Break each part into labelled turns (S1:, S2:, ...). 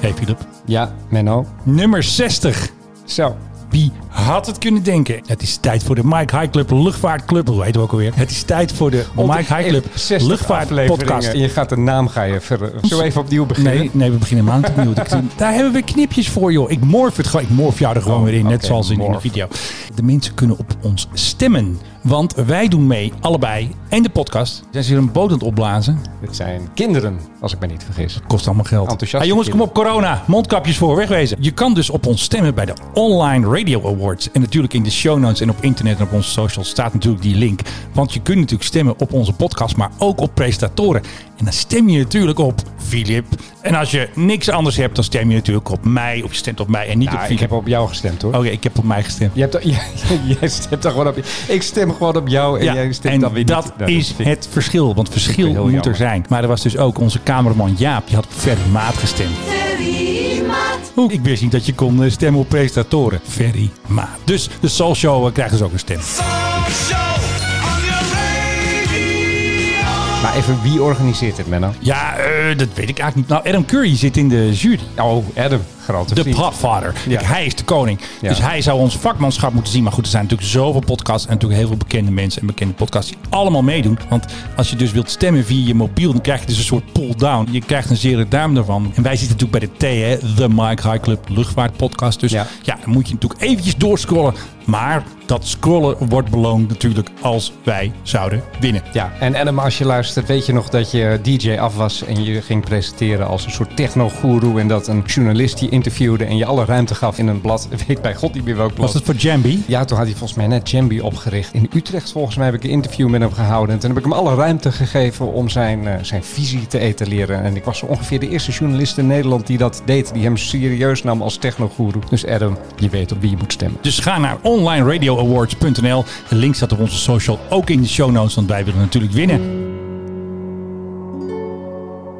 S1: Hey Filip.
S2: Ja, Menno.
S1: Nummer 60.
S2: Zo.
S1: Wie had het kunnen denken? Het is tijd voor de Mike High Club Luchtvaartclub. Hoe heet het ook alweer? Het is tijd voor de Mike High Club
S2: 60
S1: Luchtvaartpodcast.
S2: afleveringen. Je gaat de naam ga je ver... Zo even opnieuw beginnen.
S1: Nee, nee, we beginnen maand opnieuw. Ik- Daar hebben we knipjes voor, joh. Ik morf het gewoon. Ik morf jou er gewoon
S2: Oh,
S1: weer in, net
S2: oké,
S1: zoals in, in de
S2: morf.
S1: video. De mensen kunnen op ons stemmen. Want wij doen mee, allebei. En de podcast. Zijn ze hier een boot aan het opblazen?
S2: Het zijn kinderen, als ik me niet vergis.
S1: Kost allemaal geld.
S2: Enthousiaste
S1: Ah, jongens, kom op,
S2: kinderen.
S1: corona. Mondkapjes voor, wegwezen. Je kan dus op ons stemmen bij de Online Radio Awards. En natuurlijk in de show notes en op internet en op onze socials staat natuurlijk die link. Want je kunt natuurlijk stemmen op onze podcast, maar ook op presentatoren. En dan stem je natuurlijk op Filip. En als je niks anders hebt, dan stem je natuurlijk op mij. Of je stemt op mij en niet
S2: Nou,
S1: op
S2: ik
S1: Filip.
S2: heb op jou gestemd hoor.
S1: Oké, ik heb op mij gestemd.
S2: Je hebt, al- jij, jij stemt dan gewoon op... Ik stem gewoon op jou en jij stemt
S1: en
S2: dan weer
S1: dat
S2: niet. Nou,
S1: is
S2: vind ik-
S1: het verschil. Want verschil
S2: heel
S1: moet er
S2: jammer.
S1: zijn. Maar er was dus ook onze cameraman Jaap. Die had op Ferry Maat gestemd. Oeh, Ik wist niet dat je kon eh, stemmen op presentatoren. Ferry Maat. Dus de Soul Show eh, krijgt dus ook een stem.
S2: Maar even, wie organiseert het, Menno?
S1: Ja, eh, dat weet ik eigenlijk niet. Nou, Adam Curry zit in de jury.
S2: Oh, Adam. Grote
S1: De
S2: vriend.
S1: Podfather.
S2: Ja.
S1: Kijk, Hij is de koning.
S2: Ja.
S1: Dus hij zou ons vakmanschap moeten zien. Maar goed, er zijn natuurlijk zoveel podcasts. En natuurlijk heel veel bekende mensen en bekende podcasts die allemaal meedoen. Want als je dus wilt stemmen via je mobiel, dan krijg je dus een soort pull-down. Je krijgt een zere duim daarvan. En wij zitten natuurlijk bij de T, hè? de Mike High Club Luchtvaart Podcast. Dus ja.
S2: Ja.
S1: dan moet je natuurlijk eventjes doorscrollen. Maar dat scrollen wordt beloond natuurlijk als wij zouden winnen.
S2: Ja, en Adam, als je luistert, weet je nog dat je DJ af was en je ging presenteren als een soort techno-goeroe en dat een journalist je interviewde en je alle ruimte gaf in een blad. Ik Weet bij God niet meer welk blad.
S1: Was dat voor Jambi?
S2: Ja, toen had hij volgens mij net Jambi opgericht. In Utrecht volgens mij heb ik een interview met hem gehouden. En toen heb ik hem alle ruimte gegeven om zijn, eh, zijn visie te etaleren. En ik was zo ongeveer de eerste journalist in Nederland die dat deed. Die hem serieus nam als technogoeroe. Dus Adam, je weet op wie je moet stemmen.
S1: Dus ga naar onlineradioawards.nl. De link staat op onze social, ook in de show notes, want wij willen natuurlijk winnen.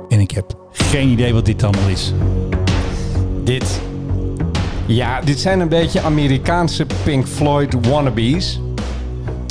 S1: En ik heb geen idee wat dit allemaal is.
S2: Dit. Ja, dit zijn een beetje Amerikaanse Pink Floyd wannabes.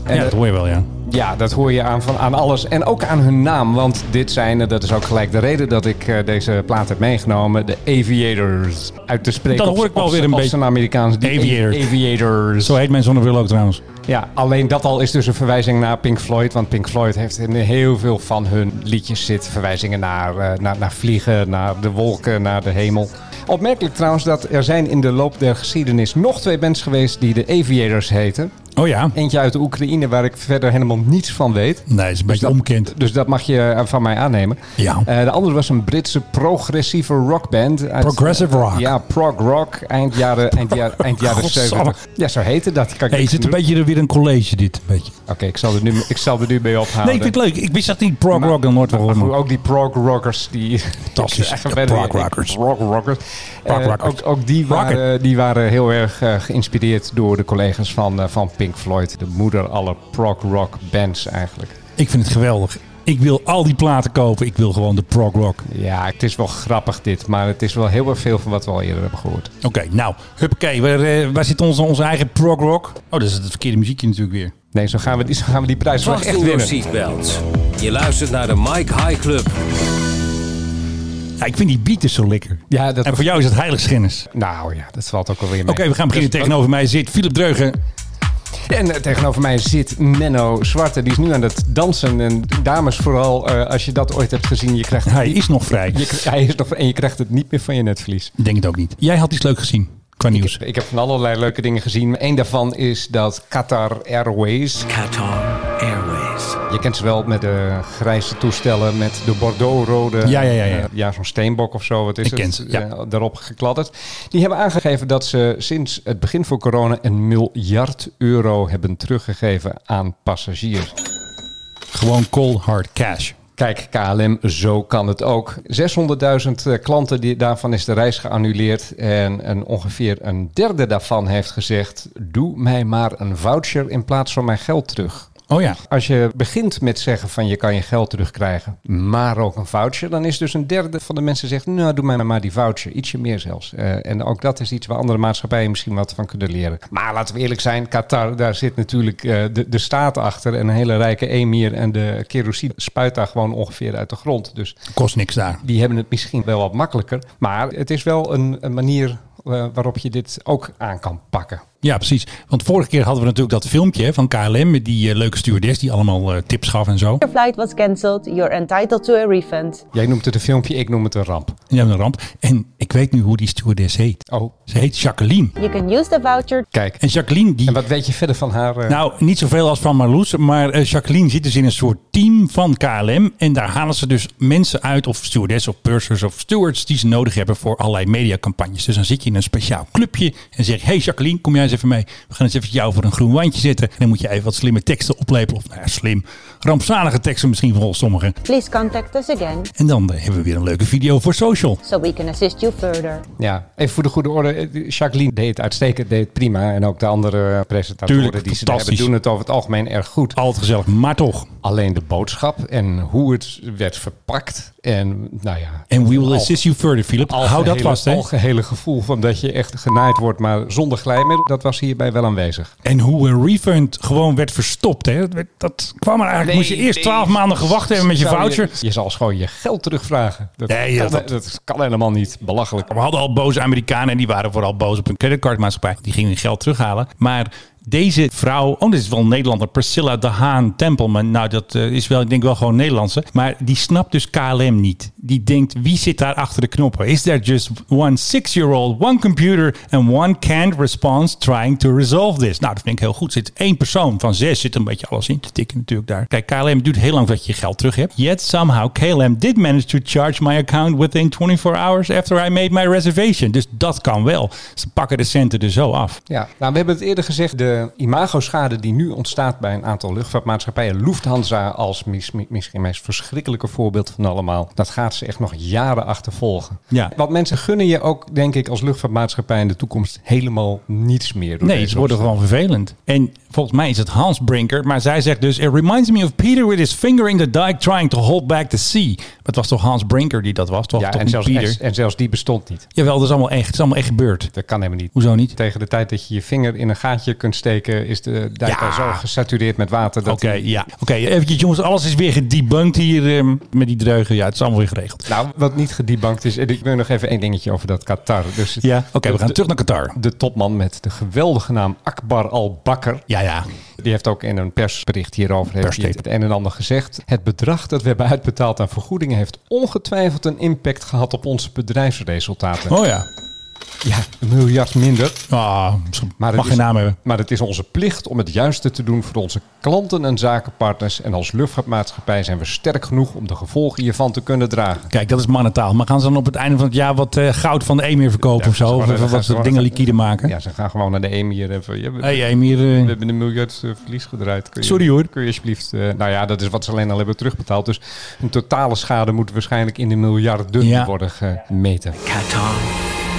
S2: En
S1: ja, dat hoor je wel, ja.
S2: Ja, dat hoor je aan, van, aan alles. En ook aan hun naam. Want dit zijn, en dat is ook gelijk de reden dat ik eh, deze plaat heb meegenomen. De Aviators. Uit te spreken.
S1: Dat
S2: op-
S1: hoor ik wel
S2: op-
S1: weer een
S2: op
S1: beetje.
S2: zijn Amerikaans. Die
S1: Aviator.
S2: Aviators.
S1: Zo heet mijn zonnebril ook trouwens.
S2: Ja, alleen dat al is dus een verwijzing naar Pink Floyd. Want Pink Floyd heeft in heel veel van hun liedjes zit verwijzingen naar, eh, naar, naar vliegen, naar de wolken, naar de hemel. Opmerkelijk trouwens dat er zijn in de loop der geschiedenis nog twee bands geweest die de Aviators heten.
S1: Oh ja?
S2: Eentje uit de Oekraïne waar ik verder helemaal niets van weet.
S1: Nee, is een beetje omkend.
S2: Dus dat mag je eh, van mij aannemen.
S1: Ja.
S2: Eh, de andere was een Britse progressieve rockband. Uit,
S1: Progressive rock.
S2: Ja, prog rock, eind jaren, eind jaren, eind jaren
S1: Godsamme.
S2: 70. Ja, zo heette dat. Kan ik
S1: Hey, is
S2: niks
S1: het een
S2: doen.
S1: beetje er weer een college dit? Een beetje.
S2: Oké, ik, zal er nu- ik zal er nu mee ophouden.
S1: Nee, ik vind het leuk. Ik wist dat niet. Prog rock en nooit van gehoord,
S2: Maar
S1: man.
S2: goed, ook die prog rockers die.
S1: Fantastisch.
S2: die
S1: Ja,
S2: krijgen verder-
S1: prog rockers.
S2: Prog rockers.
S1: Prog
S2: Eh,
S1: rockers.
S2: ook, ook die waren, eh, die waren heel erg eh, geïnspireerd door de collega's van, eh, van Pink Floyd. De moeder aller prog rock bands eigenlijk.
S1: Ik vind het geweldig. Ik wil al die platen kopen. Ik wil gewoon de prog rock.
S2: Ja, het is wel grappig dit, maar het is wel heel erg veel van wat we al eerder hebben gehoord.
S1: Oké, nou. Huppakee. Waar, eh, waar zit onze, onze eigen prog rock? Oh, dat is het verkeerde muziekje natuurlijk weer.
S2: Nee, zo gaan we die, zo gaan we die prijs wel
S3: Vast
S2: echt
S3: in your
S2: winnen.
S3: seatbelt. Je luistert naar de Mike High Club.
S1: Ja, ik vind die beat dus zo lekker.
S2: Ja, dat-
S1: En voor jou is het heiligschennis. Oké,
S2: Nou ja, dat valt ook alweer mee.
S1: we gaan beginnen.
S2: Dus-
S1: Tegenover mij zit Philip Dreugen.
S2: En eh, tegenover mij zit Menno Zwarte. Die is nu aan het dansen. En dames vooral, eh, als je dat ooit hebt gezien, je krijgt...
S1: Hij is nog vrij.
S2: Je, k- hij is nog, en je krijgt het niet meer van je netvlies.
S1: Ik denk het ook niet. Jij had iets leuk gezien qua nieuws.
S2: Ik heb van allerlei leuke dingen gezien. Eén daarvan is dat Qatar Airways...
S3: Qatar Airways.
S2: Je kent ze wel met de grijze toestellen, met de Bordeaux-rode...
S1: Ja, ja, ja, ja.
S2: eh, ja, zo'n steenbok of zo, wat is
S1: Ik
S2: het?
S1: ken ze, ja.
S2: Eh, daarop gekladderd. Die hebben aangegeven dat ze sinds het begin van corona... een miljard euro hebben teruggegeven aan passagiers.
S1: Gewoon cold hard cash.
S2: Kijk, KLM, zo kan het ook. 600.000 eh, klanten, die, daarvan is de reis geannuleerd. En een, ongeveer een derde daarvan heeft gezegd... doe mij maar een voucher in plaats van mijn geld terug.
S1: Oh ja.
S2: Als je begint met zeggen van je kan je geld terugkrijgen, maar ook een voucher, dan is dus een derde van de mensen zegt, nou doe mij maar die voucher, ietsje meer zelfs. Eh, en ook dat is iets waar andere maatschappijen misschien wat van kunnen leren. Maar laten we eerlijk zijn, Qatar, daar zit natuurlijk eh, de, de staat achter en een hele rijke emir en de kerosine spuit daar gewoon ongeveer uit de grond. Dus
S1: Kost niks daar.
S2: die hebben het misschien wel wat makkelijker, maar het is wel een, een manier eh, waarop je dit ook aan kan pakken.
S1: Ja, precies. Want vorige keer hadden we natuurlijk dat filmpje van KLM met die eh, leuke stewardess die allemaal eh, tips gaf en zo.
S4: Your flight was cancelled, you're entitled to a refund.
S2: Jij noemt het een filmpje, ik noem het een ramp.
S1: En een ramp. En ik weet nu hoe die stewardess heet.
S2: Oh,
S1: Ze heet Jacqueline.
S4: You can use the voucher
S2: kijk.
S1: En Jacqueline die...
S2: En wat weet je verder van haar? eh,
S1: Nou, niet zoveel als van Marloes, maar eh, Jacqueline zit dus in een soort team van KLM. En daar halen ze dus mensen uit, of stewardessen of pursers of stewards, die ze nodig hebben voor allerlei mediacampagnes. Dus dan zit je in een speciaal clubje en zeg je, hey Jacqueline, kom jij eens even mee. We gaan eens even jou voor een groen wandje zetten. En dan moet je even wat slimme teksten oplepelen. Of nou ja, slim, rampzalige teksten misschien volgens sommigen.
S4: please contact us again
S1: En dan eh, hebben we weer een leuke video voor social.
S4: so we can assist you further.
S2: Ja, even voor de goede orde. eh, Jacqueline deed het uitstekend, deed het prima. En ook de andere eh, presentatoren
S1: Tuurlijk,
S2: die ze daar
S1: fantastisch.
S2: hebben doen het over het algemeen erg goed.
S1: Altijd gezellig, maar toch.
S2: Alleen de boodschap en hoe het werd verpakt. En nou ja.
S1: En we will
S2: Al-
S1: assist you further, Philip. Hou dat
S2: algehele-
S1: vast, hè.
S2: algehele gevoel van dat je echt genaaid wordt, maar zonder glijmiddel. Dat was hierbij wel aanwezig.
S1: En hoe een refund gewoon werd verstopt. Hè? Dat, werd- dat kwam er eigenlijk. moest je eerst twaalf maanden gewacht hebben met je
S2: Zou
S1: voucher.
S2: Je, zal gewoon je geld terugvragen. Dat,
S1: Nee, ja,
S2: kan,
S1: dat-
S2: dat, kan helemaal niet. Belachelijk.
S1: We hadden al boze Amerikanen en die waren vooral boos op hun creditcardmaatschappij. Die gingen hun geld terughalen. Maar deze vrouw, oh, dit is wel een Nederlander, Priscilla de Haan Tempelman. Nou, dat eh, is wel, ik denk wel gewoon Nederlandse. Maar die snapt dus KLM niet. Die denkt, wie zit daar achter de knoppen? Is there just one six-year-old, one computer and one canned response trying to resolve this? Nou, dat vind ik heel goed. Zit één persoon van zes, zit een beetje alles in te tikken natuurlijk daar. Kijk, KLM duurt heel lang dat je je geld terug hebt. Yet somehow KLM did manage to charge my account within 24 hours after I made my reservation. Dus dat kan wel. Ze pakken de centen er zo af.
S2: Ja, nou, we hebben het eerder gezegd. De imagoschade die nu ontstaat bij een aantal luchtvaartmaatschappijen. Lufthansa als mis- mi- misschien het meest verschrikkelijke voorbeeld van allemaal. Dat gaat ze echt nog jaren achtervolgen.
S1: Ja.
S2: Want mensen gunnen je ook, denk ik, als luchtvaartmaatschappij in de toekomst helemaal niets meer. door
S1: Nee,
S2: deze
S1: ze worden
S2: opstand.
S1: gewoon vervelend. En volgens mij is het Hans Brinker, maar zij zegt dus... It reminds me of Peter with his finger in the dike trying to hold back the sea. Maar het was toch Hans Brinker die dat was? Toch,
S2: Ja,
S1: toch
S2: en
S1: niet
S2: zelfs,
S1: Peter?
S2: en, en zelfs die bestond niet.
S1: Jawel, dat is allemaal echt, het is allemaal echt gebeurd.
S2: Dat kan helemaal niet.
S1: Hoezo niet?
S2: Tegen de tijd dat je je vinger in een gaatje kunt steken, is de dijk
S1: Ja.
S2: al zo gesatureerd met water. dat
S1: Oké,
S2: die-
S1: ja. Oké, eventjes jongens, alles is weer gedebunked hier ehm, met die dreugen. Ja, het is allemaal weer geregeld.
S2: Nou, wat niet gedebankt is. en Ik wil nog even één dingetje over dat Qatar. Dus
S1: Ja, oké, we gaan
S2: de-
S1: terug naar Qatar.
S2: De topman met de geweldige naam Akbar al-Bakker.
S1: Ja, ja.
S2: Die heeft ook in een persbericht hierover heeft hij
S1: Persstatement.
S2: het een en ander gezegd. Het bedrag dat we hebben uitbetaald aan vergoedingen heeft ongetwijfeld een impact gehad op onze bedrijfsresultaten.
S1: Oh ja.
S2: Ja, een miljard minder.
S1: Ah,
S2: Maar
S1: mag
S2: het
S1: geen
S2: is-
S1: naam hebben.
S2: Maar het is onze plicht om het juiste te doen voor onze klanten en zakenpartners. En als luchtvaartmaatschappij zijn we sterk genoeg om de gevolgen hiervan te kunnen dragen.
S1: Kijk, dat is mannentaal. Maar gaan ze dan op het einde van het jaar wat eh, goud van de emir verkopen
S2: Ja,
S1: of zo?
S2: ze
S1: Of
S2: gaan-
S1: even
S2: gaan-
S1: wat
S2: ze gaan-
S1: dingen liquide maken?
S2: Ja, ze gaan gewoon naar de EMIR. en van, ja, we-
S1: hey, emir. eh,
S2: We hebben een miljard eh, verlies gedraaid. Kun je,
S1: Sorry, hoor.
S2: Kun je alsjeblieft... eh, nou ja, dat is wat ze alleen al hebben terugbetaald. Dus een totale schade moet waarschijnlijk in de miljarden
S1: Ja.
S2: worden gemeten.
S3: Qatar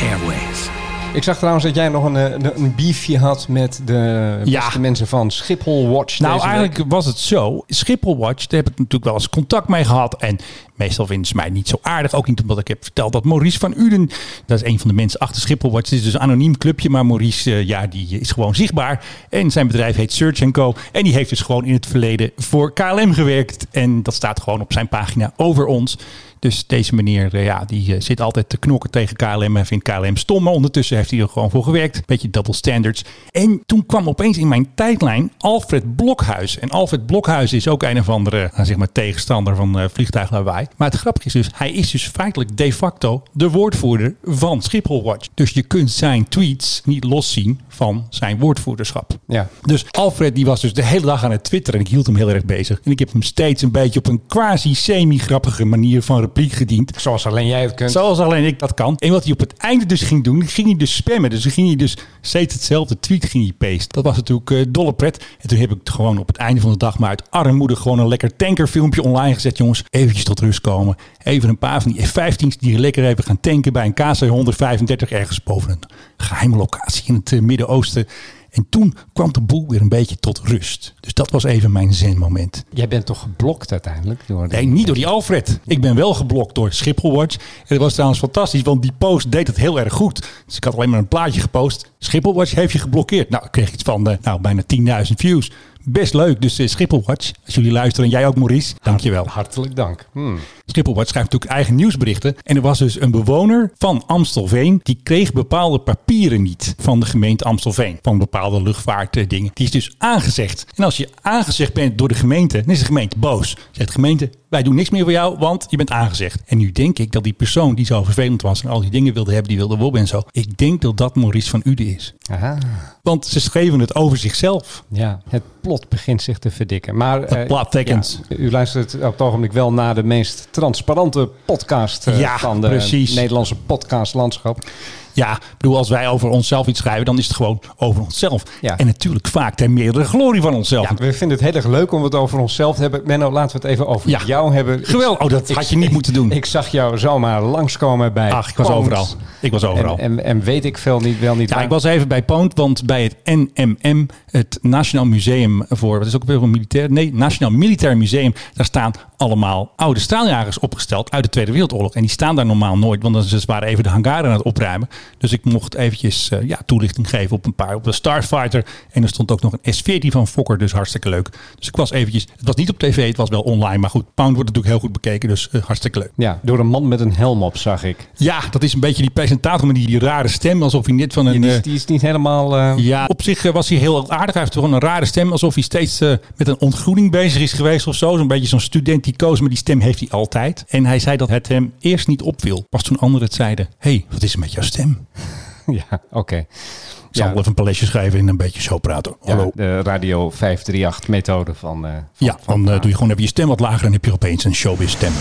S3: Airways.
S2: Ik zag trouwens dat jij nog een, eh, een, een beefje had met de
S1: Ja.
S2: beste mensen van Schiphol Watch.
S1: Nou,
S2: deze week.
S1: eigenlijk was het zo. Schiphol Watch, daar heb ik natuurlijk wel eens contact mee gehad. En meestal vinden ze mij niet zo aardig. Ook niet omdat ik heb verteld dat Maurice van Uden... dat is een van de mensen achter Schiphol Watch. Het is dus een anoniem clubje, maar Maurice eh, ja, die is gewoon zichtbaar. En zijn bedrijf heet Search Co. En die heeft dus gewoon in het verleden voor KLM gewerkt. En dat staat gewoon op zijn pagina over ons. Dus deze meneer, eh, ja, die eh, zit altijd te knokken tegen KLM en vindt KLM stom. Maar ondertussen heeft hij er gewoon voor gewerkt. Beetje double standards. En toen kwam opeens in mijn tijdlijn Alfred Blokhuis. En Alfred Blokhuis is ook een of andere nou, zeg maar, tegenstander van eh Vliegtuig Lawaai. Maar het grappige is dus, hij is dus feitelijk de facto de woordvoerder van Schiphol Watch. Dus je kunt zijn tweets niet loszien van zijn woordvoerderschap.
S2: Ja.
S1: Dus Alfred die was dus de hele dag aan het twitteren en ik hield hem heel erg bezig. En ik heb hem steeds een beetje op een quasi semi-grappige manier van repliek gediend.
S2: Zoals alleen jij het kunt.
S1: Zoals alleen ik dat kan. En wat hij op het einde dus ging doen, ging hij dus spammen. Dus dan ging hij dus steeds hetzelfde tweet ging hij paste. Dat was natuurlijk eh, dolle pret. En toen heb ik het gewoon op het einde van de dag, maar uit armoede, gewoon een lekker tankerfilmpje online gezet. Jongens, eventjes tot rust komen. Even een paar van die F-15's die lekker even gaan tanken bij een KC-135 ergens boven een geheime locatie in het eh, Midden-Oosten. En toen kwam de boel weer een beetje tot rust. Dus dat was even mijn zenmoment.
S2: Jij bent toch geblokt uiteindelijk? Door
S1: Nee, niet door die Alfred. Ik ben wel geblokt door Schipholwatch. En dat was trouwens fantastisch, want die post deed het heel erg goed. Dus ik had alleen maar een plaatje gepost. Schipholwatch heeft je geblokkeerd. Nou, ik kreeg iets van eh, nou, bijna 10.000 views. Best leuk. Dus eh, Schipholwatch, als jullie luisteren en jij ook Maurice, dankjewel.
S2: Hartelijk dank. Hmm.
S1: Schipholwatch schrijft natuurlijk eigen nieuwsberichten. En er was dus een bewoner van Amstelveen. Die kreeg bepaalde papieren niet van de gemeente Amstelveen. Van bepaalde luchtvaartdingen. Die is dus aangezegd. En als je aangezegd bent door de gemeente, dan is de gemeente boos. Zegt de gemeente, wij doen niks meer voor jou, want je bent aangezegd. En nu denk ik dat die persoon die zo vervelend was en al die dingen wilde hebben, die wilde wobben en zo. Ik denk dat dat Maurice van Ude is.
S2: Aha.
S1: Want ze schreven het over zichzelf.
S2: Ja, het plot begint zich te verdikken. Maar,
S1: Het
S2: eh,
S1: plot thickens.
S2: ja, u luistert op het ogenblik wel naar de meest transparante podcast eh,
S1: Ja,
S2: van de
S1: precies.
S2: Nederlandse podcastlandschap.
S1: Ja, ik bedoel, als wij over onszelf iets schrijven, dan is het gewoon over onszelf.
S2: Ja.
S1: En natuurlijk vaak ter meerdere glorie van onszelf.
S2: Ja, we vinden het heel erg leuk om het over onszelf te hebben. Menno, laten we het even over
S1: Ja.
S2: jou hebben. Ik-
S1: Geweldig. Oh, dat
S2: ik-
S1: had je niet moeten doen.
S2: Ik zag jou zomaar langskomen bij
S1: Ach, Ah, ik was
S2: Pont.
S1: overal. Ik was overal.
S2: En, en, en weet ik veel niet, wel niet.
S1: ja,
S2: waar.
S1: ik was even bij Poont, want bij het NMM, het Nationaal Museum voor, wat is ook weer een militair, nee, Nationaal Militair Museum, daar staan allemaal oude straaljagers opgesteld uit de Tweede Wereldoorlog. En die staan daar normaal nooit, want dan- ze waren even de hangaren aan het opruimen. Dus ik mocht eventjes eh, ja, toelichting geven op een paar, op de Starfighter. En er stond ook nog een S-14 van Fokker, dus hartstikke leuk. Dus ik was eventjes, het was niet op tv, het was wel online, maar goed, Pound wordt natuurlijk heel goed bekeken, dus eh, hartstikke leuk.
S2: Ja, door een man met een helm op, zag ik.
S1: Ja, dat is een beetje die presentator met die, die rare stem. Alsof hij net van een...
S2: die, is,
S1: eh,
S2: die is niet helemaal... eh,
S1: ja, op zich eh, was hij heel aardig. Hij heeft gewoon een rare stem. Alsof hij steeds eh, met een ontgroening bezig is geweest of zo. Zo'n beetje zo'n student die koos. Maar die stem heeft hij altijd. En hij zei dat het hem eerst niet opviel. Pas toen anderen het zeiden. Hé, hey, wat is er met jouw stem?
S2: Ja, oké.
S1: Ik zal
S2: Ja.
S1: wel even een paletje schrijven en een beetje zo praten.
S2: Ja,
S1: Hallo.
S2: de Radio 538-methode van... eh,
S1: Ja, dan eh, doe je gewoon even je stem wat lager. En dan heb je opeens een showbiz stem.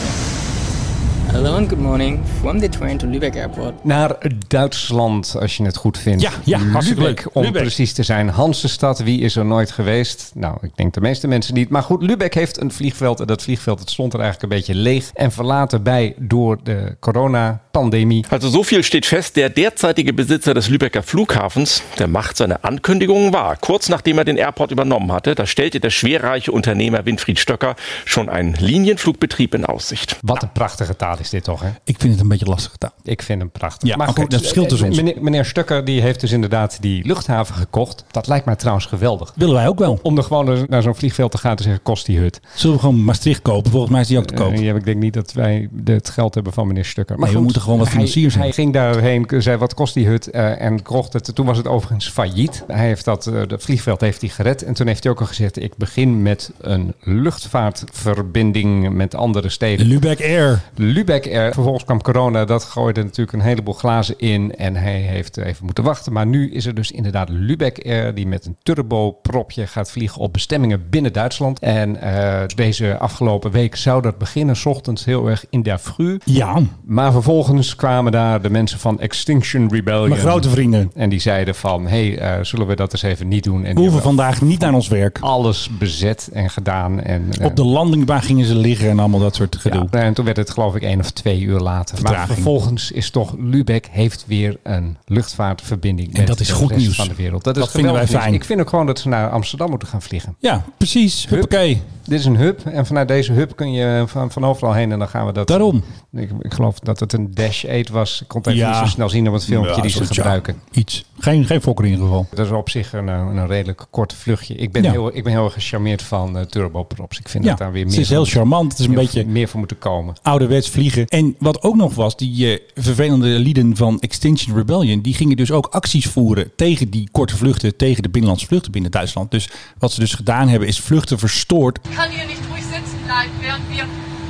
S5: Hello and good morning from the train to Lübeck Airport.
S2: Naar Duitsland, als je het goed vindt.
S1: Ja, ja, hartstikke
S2: Lübeck,
S1: leuk.
S2: om
S1: Lübeck.
S2: precies te zijn. Hansenstad, wie is er nooit geweest? Nou, ik denk de meeste mensen niet. Maar goed, Lübeck heeft een vliegveld. En dat vliegveld dat stond er eigenlijk een beetje leeg en verlaten bij door de coronapandemie.
S6: Also so viel steht fest, der derzeitige Besitzer des Lübecker Flughafens, der macht seine Ankündigungen wahr. Kurz nachdem er den Airport übernommen hatte, da stellte der schwerreiche Unternehmer Winfried Stöcker schon einen Linienflugbetrieb in Aussicht.
S2: Wat een prachtige taal is dit toch, hè?
S1: Ik vind het een beetje lastig taal.
S2: Ik vind hem prachtig.
S1: Ja, oké, dat verschilt dus
S2: eh,
S1: ons.
S2: Meneer, meneer Stukker die heeft dus inderdaad die luchthaven gekocht. Dat lijkt mij trouwens geweldig.
S1: Willen wij ook wel.
S2: Om er gewoon naar zo'n vliegveld te gaan en te zeggen, kost die hut?
S1: Zullen we gewoon Maastricht kopen? Volgens mij is die ook te koop.
S2: Eh, ja, ik denk niet dat wij de- het geld hebben van meneer Stukker. Maar
S1: Nee, we moeten gewoon wat
S2: hij-
S1: financiers
S2: Hij,
S1: hebben.
S2: ging daarheen, k- zei wat kost die hut eh, en kocht het. Toen was het overigens failliet. Hij heeft dat, eh, dat vliegveld heeft hij gered. En toen heeft hij ook al gezegd, ik begin met een luchtvaartverbinding met andere steden.
S1: Lubeck Air.
S2: Lübeck er. Vervolgens kwam corona, dat gooide natuurlijk een heleboel glazen in. En hij heeft even moeten wachten. Maar nu is er dus inderdaad Lübeck Air, die met een turbopropje gaat vliegen op bestemmingen binnen Duitsland. En eh, deze afgelopen week zou dat beginnen, 's ochtends heel erg in der Früh.
S1: Ja,
S2: Maar vervolgens kwamen daar de mensen van Extinction Rebellion.
S1: mijn grote vrienden.
S2: En die zeiden van, hé, hey, eh, zullen we dat eens even niet doen? En
S1: We
S2: die
S1: hoeven
S2: hebben
S1: vandaag niet aan ons werk.
S2: alles bezet en gedaan. En, eh,
S1: Op de landingbaan gingen ze liggen en allemaal dat soort gedoe.
S2: Ja, en toen werd het geloof ik één of twee uur later. Maar
S1: Vertraging.
S2: vervolgens is toch Lübeck heeft weer een luchtvaartverbinding
S1: En dat is
S2: de
S1: goed
S2: rest
S1: nieuws.
S2: van de wereld. Dat, is
S1: Dat vinden wij
S2: geweldig nieuws.
S1: fijn.
S2: Ik vind ook gewoon dat ze naar Amsterdam moeten gaan vliegen.
S1: Ja, precies. Huppakee.
S2: Dit is een hub en vanuit deze hub kun je van, van overal heen en dan gaan we dat.
S1: Daarom.
S2: Ik, ik geloof dat het een dash 8 was. Ik kon het even
S1: Ja.
S2: niet zo snel zien op het filmpje
S1: Ja,
S2: die ze
S1: zoiets, ja.
S2: gebruiken.
S1: Iets. Geen, geen fokker in ieder geval.
S2: Dat is op zich een, eh, een redelijk kort vluchtje. Ik ben,
S1: Ja.
S2: heel, ik ben heel erg gecharmeerd van eh, turboprops. Ik vind
S1: Ja,
S2: dat daar weer meer
S1: het is
S2: van
S1: heel
S2: moet-
S1: charmant. Het is een
S2: heel-
S1: beetje
S2: meer voor moeten komen.
S1: ouderwets vliegen. En wat ook nog was, die eh, vervelende lieden van Extinction Rebellion, die gingen dus ook acties voeren tegen die korte vluchten, tegen de binnenlandse vluchten binnen Duitsland. Dus wat ze dus gedaan hebben, is vluchten verstoord.
S7: kann hier nicht ruhig sitzen bleiben, während wir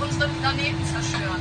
S7: unseren Planeten zerstören.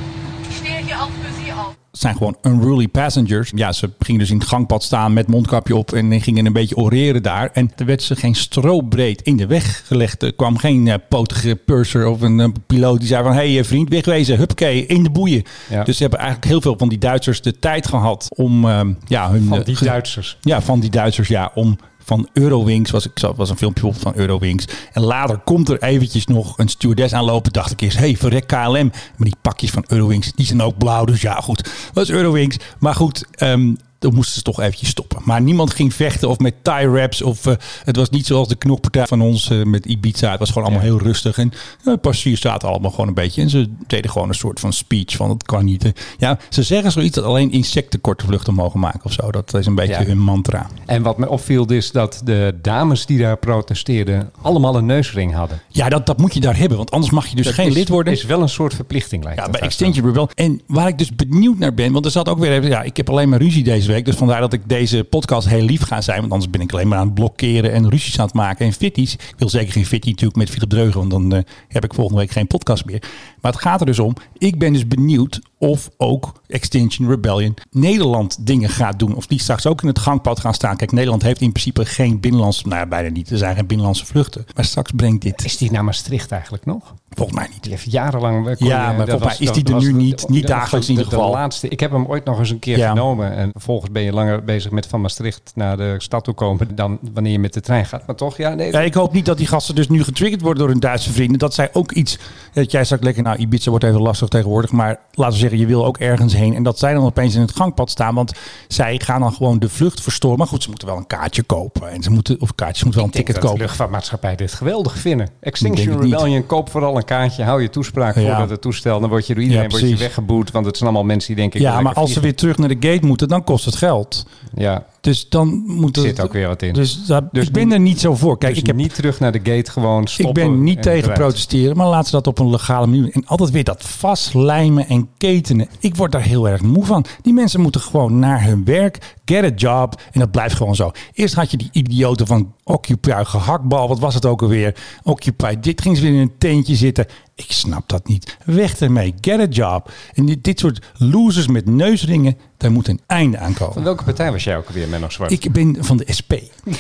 S7: Ich stehe hier auch für Sie auf.
S1: Het zijn gewoon unruly passengers. Ja, ze gingen dus in het gangpad staan met mondkapje op en gingen een beetje oreren daar. En er werd ze geen stroopbreed in de weg gelegd. Er kwam geen eh, potige purser of een eh, piloot die zei van... hé hey, eh, vriend, wegwezen, huppakee, in de boeien.
S2: Ja.
S1: Dus ze hebben eigenlijk heel veel van die Duitsers de tijd gehad om... ehm, ja, hun,
S2: Van
S1: eh,
S2: die
S1: ge-
S2: Duitsers.
S1: ja, van die Duitsers, ja, om van Eurowings, was, ik zag- was een filmpje op van Eurowings. En later komt er eventjes nog een stewardess aanlopen. Dacht ik eerst, hé, hey, verrek KLM. Maar die pakjes van Eurowings, die zijn ook blauw, dus ja, goed. Dat is Eurowings. Maar goed, ehm, Dan moesten ze toch eventjes stoppen. Maar niemand ging vechten of met tie wraps. Of, eh, het was niet zoals de knokpartij van ons eh, met Ibiza. Het was gewoon allemaal heel rustig. En eh, de passagiers zaten allemaal gewoon een beetje. En ze deden gewoon een soort van speech van het kan niet. eh. Ja, ze zeggen zoiets dat alleen insecten korte vluchten mogen maken of zo. Dat is een beetje
S2: Ja.
S1: hun mantra.
S2: En wat me opviel is dat de dames die daar protesteerden allemaal een neusring hadden.
S1: Ja, dat, dat moet je daar hebben. Want anders mag je dus
S2: Dat
S1: geen
S2: is-
S1: lid worden.
S2: Is wel een soort verplichting lijkt
S1: Ja,
S2: het
S1: bij
S2: haast
S1: Extinction Rebel. En waar ik dus benieuwd naar ben, want er zat ook weer even, ja, ik heb alleen maar ruzie deze week. Dus vandaar dat ik deze podcast heel lief ga zijn. Want anders ben ik alleen maar aan het blokkeren en ruzies aan het maken. En fitties. Ik wil zeker geen fitty natuurlijk met Philip Dreugen, want dan eh, heb ik volgende week geen podcast meer. Maar het gaat er dus om. Ik ben dus benieuwd of ook Extinction Rebellion Nederland dingen gaat doen. Of die straks ook in het gangpad gaan staan. Kijk, Nederland heeft in principe geen binnenlandse, nou ja, bijna niet. Er zijn geen binnenlandse vluchten. Maar straks brengt
S2: wel.
S1: dit,
S2: Is die naar Maastricht eigenlijk nog?
S1: volgens mij niet.
S2: Die heeft jarenlang... eh, kon
S1: Ja,
S2: je-
S1: maar
S2: dat
S1: volgens
S2: was-
S1: mij is die
S2: dat
S1: er
S2: was
S1: nu
S2: de-
S1: niet- niet
S2: dat was
S1: dagelijks
S2: de-
S1: in ieder
S2: de
S1: geval.
S2: laatste. Ik heb hem ooit nog eens een keer
S1: Ja.
S2: genomen. En vervolgens ben je langer bezig met van Maastricht naar de stad toe komen dan wanneer je met de trein gaat. Maar toch, ja, nee,
S1: Ja, ik hoop niet dat die gasten dus nu getriggerd worden door hun Duitse vrienden. Dat zij ook iets. Dat jij straks lekker. Nou, Ibiza wordt even lastig tegenwoordig. Maar laten we zeggen, je wil ook ergens heen. En dat zij dan opeens in het gangpad staan. Want zij gaan dan gewoon de vlucht verstoren. Maar goed, ze moeten wel een kaartje kopen. En ze moeten, of kaartjes, ze moeten wel een
S2: Ik denk
S1: ticket
S2: dat de
S1: kopen.
S2: luchtvaartmaatschappij dit geweldig vinden.
S1: Denk
S2: Extinction
S1: ik niet.
S2: Rebellion, koop vooral een kaartje, hou je toespraak
S1: Ja.
S2: voordat het toestel. Dan word je door iedereen
S1: Ja,
S2: wordt je
S1: precies.
S2: weggeboet, want het zijn allemaal mensen die denken... ik
S1: Ja,
S2: wil
S1: maar
S2: lekker
S1: als ze
S2: vliegen.
S1: weer terug naar de gate moeten, dan kost het geld.
S2: Ja,
S1: Dus dan moeten.
S2: zit ook weer wat in.
S1: Dus, daar-
S2: Dus
S1: ik ben
S2: niet-
S1: er niet zo voor. Kijk,
S2: dus
S1: ik heb
S2: niet terug naar de gate, gewoon stoppen.
S1: Ik ben niet
S2: en
S1: tegen
S2: eruit.
S1: protesteren, maar laten ze dat op een legale manier doen. En altijd weer dat vastlijmen en ketenen. Ik word daar heel erg moe van. Die mensen moeten gewoon naar hun werk, get a job. En dat blijft gewoon zo. Eerst had je die idioten van Occupy gehaktbal. Wat was het ook alweer? Occupy dit. Gingen ze weer in een teentje zitten. Ik snap dat niet. Weg ermee. Get a job. En dit, dit soort losers met neusringen, daar moet een einde aan komen.
S2: Van welke partij was jij ook weer, Menno Zwart?
S1: Ik ben van de SP.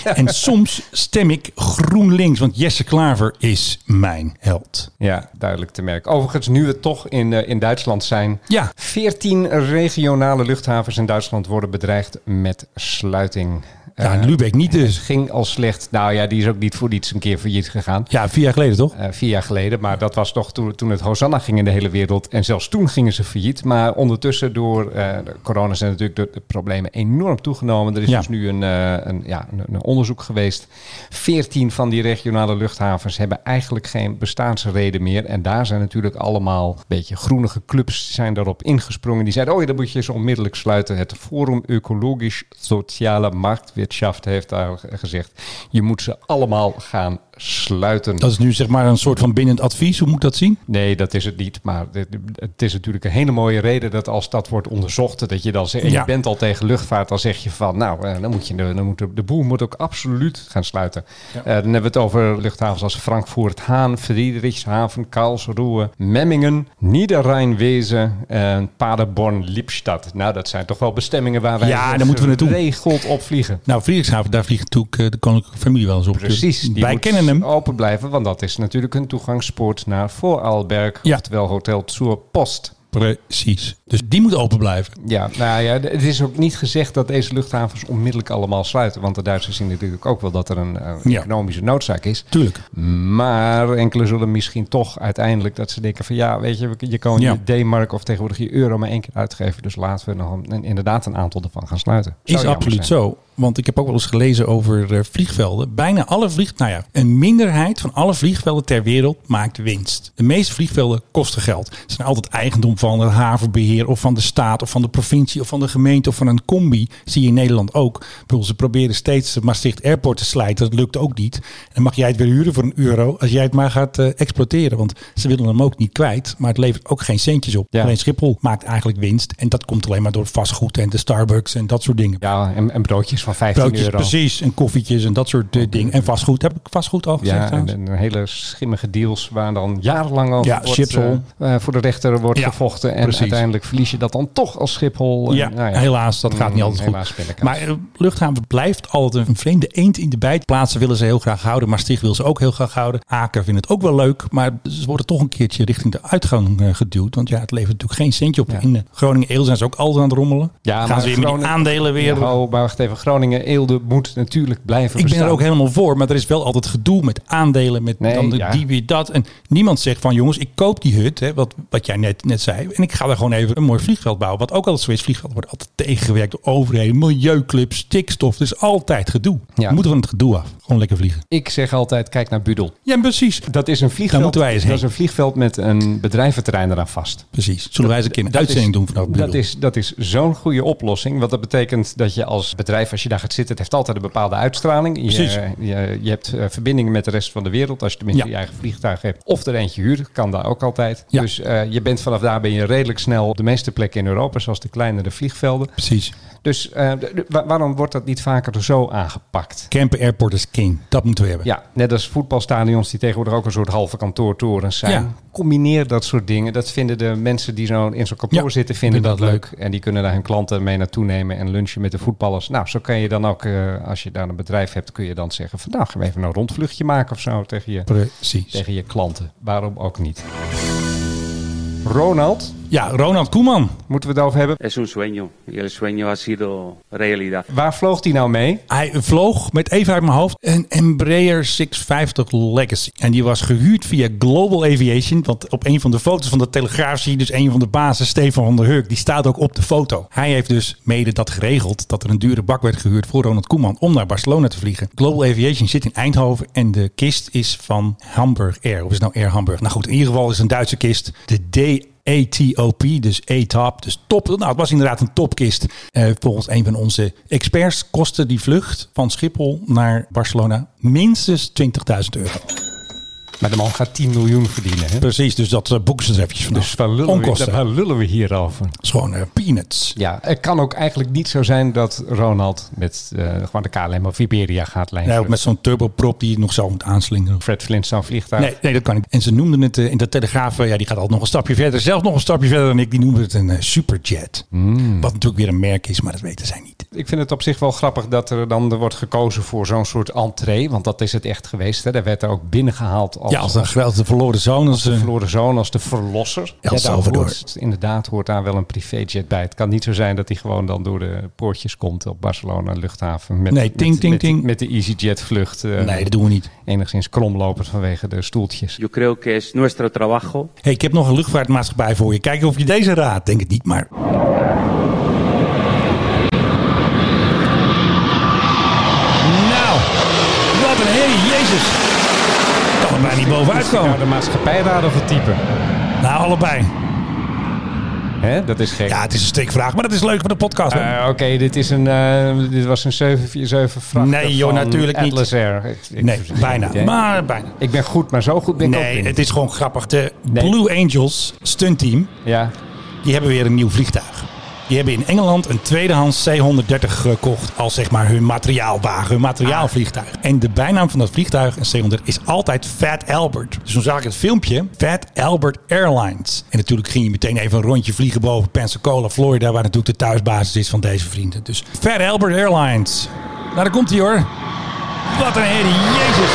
S1: En soms stem ik GroenLinks, want Jesse Klaver is mijn held.
S2: Ja, duidelijk te merken. Overigens, nu we toch in, eh, in Duitsland zijn.
S1: Ja.
S2: 14 regionale luchthavens in Duitsland worden bedreigd met sluiting.
S1: Ja,
S2: Eh,
S1: Lubeck niet
S2: het
S1: dus.
S2: ging al slecht. Nou ja, die is ook niet voor niets een keer failliet gegaan.
S1: Ja, vier jaar geleden toch?
S2: eh, vier jaar geleden. Maar dat was toch toen, toen het Hosanna ging in de hele wereld. En zelfs toen gingen ze failliet. Maar ondertussen door eh, de corona zijn natuurlijk de, de problemen enorm toegenomen. Er is
S1: Ja.
S2: dus nu een, eh, een, ja, een, een onderzoek geweest. Veertien van die regionale luchthavens hebben eigenlijk geen bestaansreden meer. En daar zijn natuurlijk allemaal een beetje groenige clubs zijn daarop ingesprongen. Die zeiden, oh ja, dat moet je ze onmiddellijk sluiten. Het Forum Ecologisch Sociale Marktwirtschaft heeft daar gezegd. Je moet ze allemaal gaan sluiten.
S1: Dat is nu zeg maar een soort van bindend advies. Hoe moet ik dat zien?
S2: Nee, dat is het niet. Maar dit- het is natuurlijk een hele mooie reden dat als dat wordt onderzocht, dat je dan zegt, en
S1: Ja.
S2: je bent al tegen luchtvaart, dan zeg je van, nou, eh, dan moet je, de- dan moet de, de boel moet ook absoluut gaan sluiten. Eh, dan hebben we het over luchthavens als Frankfurt, Haan, Friedrichshaven, Karlsruhe, Memmingen, Niederrhein-Wezen, en Paderborn, Lippstadt. Nou, dat zijn toch wel bestemmingen waar wij dus, eh,
S1: Ja, daar moeten we naartoe.
S2: geregeld op vliegen.
S1: Nou, Friedrichshaven, daar vliegt natuurlijk eh, de koninklijke familie wel eens op.
S2: Precies.
S1: Dus
S2: die
S1: Wij
S2: moet Oh.
S1: kennen hem.
S2: Open blijven, want dat is natuurlijk een toegangspoort naar Voorarlberg,
S1: Ja.
S2: oftewel Hotel Zur Post.
S1: Precies. Dus die moet open blijven.
S2: Ja, nou ja, d- het is ook niet gezegd dat deze luchthavens onmiddellijk allemaal sluiten. Want de Duitsers zien natuurlijk ook wel dat er een eh,
S1: Ja.
S2: economische noodzaak is.
S1: Tuurlijk.
S2: Maar enkele zullen misschien toch uiteindelijk dat ze denken van ja, weet je, we- je kan
S1: Ja.
S2: je D-mark of tegenwoordig je euro maar één keer uitgeven. Dus laten we nog een- een, inderdaad een aantal ervan gaan sluiten. Zou
S1: Is
S2: jammer
S1: absoluut
S2: zijn.
S1: zo. Want ik heb ook wel eens gelezen over eh, vliegvelden. Bijna alle vlieg, nou ja, een minderheid van alle vliegvelden ter wereld maakt winst. De meeste vliegvelden kosten geld. Ze zijn altijd eigendom van het havenbeheer of van de staat of van de provincie of van de gemeente of van een combi. Zie je in Nederland ook. Ik bedoel, ze proberen steeds de Maastricht Airport te slijten. Dat lukt ook niet. En dan mag jij het weer huren voor een euro als jij het maar gaat eh, exploiteren. Want ze willen hem ook niet kwijt. Maar het levert ook geen centjes op.
S2: Ja.
S1: Alleen Schiphol maakt eigenlijk winst. En dat komt alleen maar door vastgoed en de Starbucks en dat soort dingen.
S2: Ja, en, en broodjes van 15
S1: Broodjes,
S2: euro.
S1: precies. En koffietjes en dat soort eh, dingen. En vastgoed. Heb ik vastgoed al gezegd
S2: Ja, en,
S1: trouwens?
S2: en hele schimmige deals waar dan jarenlang over
S1: Ja,
S2: wordt,
S1: Schiphol.
S2: eh, eh, voor de rechter wordt
S1: Ja,
S2: gevochten. En
S1: precies.
S2: uiteindelijk verlies je dat dan toch als Schiphol. En,
S1: ja,
S2: nou
S1: helaas. Dat gaat niet altijd
S2: Mm,
S1: goed.
S2: helaas ben ik
S1: maar eh, luchthaven blijft altijd een vreemde eend in de bijt. Plaatsen willen ze heel graag houden. Maastricht wil ze ook heel graag houden. Aken vindt het ook wel leuk. Maar ze worden toch een keertje richting de uitgang eh, geduwd. Want ja, het levert natuurlijk geen centje op. In eh, Groningen-Eel zijn ze ook altijd aan het rommelen.
S2: Ja,
S1: Gaan
S2: maar
S1: ze weer met die
S2: Groningen-
S1: aandelen weer...
S2: Oh, maar wacht even. Groningen-Eelde moet natuurlijk blijven
S1: Ik ben
S2: bestaan.
S1: er ook helemaal voor, maar er is wel altijd gedoe met aandelen, met
S2: Nee,
S1: dan de-
S2: ja.
S1: die weer dat. En niemand zegt van jongens, ik koop die hut, hè, wat, wat jij net, net zei, en ik ga daar gewoon even een mooi vliegveld bouwen. Wat ook altijd zo is, vliegveld wordt altijd tegengewerkt door overheden, milieuclubs, stikstof. Er is altijd gedoe.
S2: Ja.
S1: We moeten van het gedoe af. Gewoon lekker vliegen.
S2: Ik zeg altijd, kijk naar Budel.
S1: Ja, precies.
S2: Dat is een vliegveld,
S1: moeten wij eens
S2: dat
S1: heen.
S2: is een vliegveld met een bedrijventerrein eraan vast.
S1: Precies. Zullen wij eens een keer een
S2: Dat
S1: uitzending
S2: is-
S1: doen vanaf Budel?
S2: Dat is, dat is zo'n goede oplossing. Want dat betekent dat je als bedrijf, als je daar gaat zitten, het heeft altijd een bepaalde uitstraling.
S1: Precies.
S2: Je, je, je hebt eh, verbindingen met de rest van de wereld. Als je tenminste
S1: Ja.
S2: je eigen vliegtuig hebt. Of er eentje huurt, kan daar ook altijd.
S1: Ja.
S2: Dus eh, je bent vanaf daar ben je redelijk snel op de meeste plekken in Europa, zoals de kleinere vliegvelden.
S1: Precies.
S2: Dus eh, d- d- wa- waarom wordt dat niet vaker zo aangepakt?
S1: Camper Airport is king. Dat moeten we hebben.
S2: Ja, net als voetbalstadions die tegenwoordig ook een soort halve kantoortorens zijn.
S1: Ja.
S2: Combineer dat soort dingen. Dat vinden de mensen die zo in zo'n kantoor
S1: Ja,
S2: zitten, vinden dat
S1: vinden dat
S2: leuk. En die kunnen daar hun klanten mee naartoe nemen en lunchen met de voetballers. Nou, zo kan je dan ook, eh, als je daar een bedrijf hebt, kun je dan zeggen van nou, gaan we even een rondvluchtje maken of zo tegen je,
S1: Precies.
S2: tegen je klanten. Waarom ook niet? Ronald,
S1: Ja, Ronald Koeman.
S2: moeten we het over hebben?
S8: Es un sueño y el sueño ha sido realidad.
S2: Waar vloog die nou mee?
S1: Hij vloog met even uit mijn hoofd een Embraer 650 Legacy. En die was gehuurd via Global Aviation. Want op een van de foto's van de Telegraaf zie je dus een van de bazen, Stefan van der Hurk. Die staat ook op de foto. Hij heeft dus mede dat geregeld dat er een dure bak werd gehuurd voor Ronald Koeman om naar Barcelona te vliegen. Global Aviation zit in Eindhoven en de kist is van Hamburg Air. Of is het nou Air Hamburg? Nou goed, in ieder geval is het een Duitse kist. De D. ATOP, dus ATOP, dus top. Nou, het was inderdaad een topkist. Eh, volgens een van onze experts kostte die vlucht van Schiphol naar Barcelona minstens 20.000 euro.
S2: Maar de man gaat 10 miljoen verdienen. Hè?
S1: Precies, dus dat eh, boeken ze er eventjes vanaf.
S2: Dus waar lullen, we,
S1: Onkosten.
S2: waar lullen we hier over?
S1: Dat is gewoon eh, peanuts.
S2: Ja, het kan ook eigenlijk niet zo zijn dat Ronald met eh, gewoon de KLM of Iberia gaat lijnen.
S1: Ja, ook Nou, met zo'n turboprop die je nog zo moet aanslingeren.
S2: Fred Flintstone vliegtuig.
S1: Nee, nee, dat kan niet. En ze noemden het eh, in de Telegraaf, eh, ja, die gaat altijd nog een stapje verder. Zelfs nog een stapje verder dan ik, die noemde het een eh, superjet. Wat natuurlijk weer een merk is, maar dat weten zij niet.
S2: Ik vind het op zich wel grappig dat er dan er wordt gekozen voor zo'n soort entree. Want dat is het echt geweest. Hè. Daar werd er ook binnengehaald als,
S1: Ja, als een grote verloren zoon. Als,
S2: de
S1: eh,
S2: verloren zoon, als de verlosser.
S1: El
S2: daar
S1: Salvador.
S2: hoort- inderdaad hoort daar wel een privéjet bij. Het kan niet zo zijn dat hij gewoon dan door de poortjes komt op Barcelona luchthaven. Met,
S1: Nee, ting,
S2: met,
S1: ting,
S2: met, die-
S1: ting.
S2: Met de EasyJet vlucht. eh,
S1: nee, dat doen we niet.
S2: Enigszins kromlopend vanwege de stoeltjes.
S8: Yo creo que es nuestro trabajo
S1: Hey, ik heb nog een luchtvaartmaatschappij voor je. Kijken of je deze raadt. Denk het niet, maar Nou, wat een herrie, jezus. Kan er bijna niet bovenuit
S2: Is die nou
S1: komen.
S2: de maatschappijraad of het type?
S1: Nou, allebei.
S2: Hè? Dat is gek.
S1: Ja, het is een steekvraag, maar dat is leuk voor de podcast. hè?
S2: Eh, Oké, dit is een, eh, dit was een 747 vracht.
S1: Nee, joh, natuurlijk niet.
S2: Atlas Air. Ik- ik-
S1: nee,
S2: ik-
S1: bijna.
S2: ik-
S1: Maar bijna.
S2: Ik ben goed, maar zo goed ben ik ook
S1: Nee,
S2: niet.
S1: het is gewoon grappig. De
S2: Nee.
S1: Blue Angels stuntteam,
S2: Ja,
S1: die hebben weer een nieuw vliegtuig. Die hebben in Engeland een tweedehands C-130 gekocht als zeg maar hun materiaalwagen, hun materiaalvliegtuig. En de bijnaam van dat vliegtuig, een C-130, is altijd Fat Albert. Dus toen zag ik het filmpje, Fat Albert Airlines. En natuurlijk ging je meteen even een rondje vliegen boven Pensacola, Florida, waar natuurlijk de thuisbasis is van deze vrienden. Dus Fat Albert Airlines. Nou, daar komt hij hoor. Wat een herrie, jezus.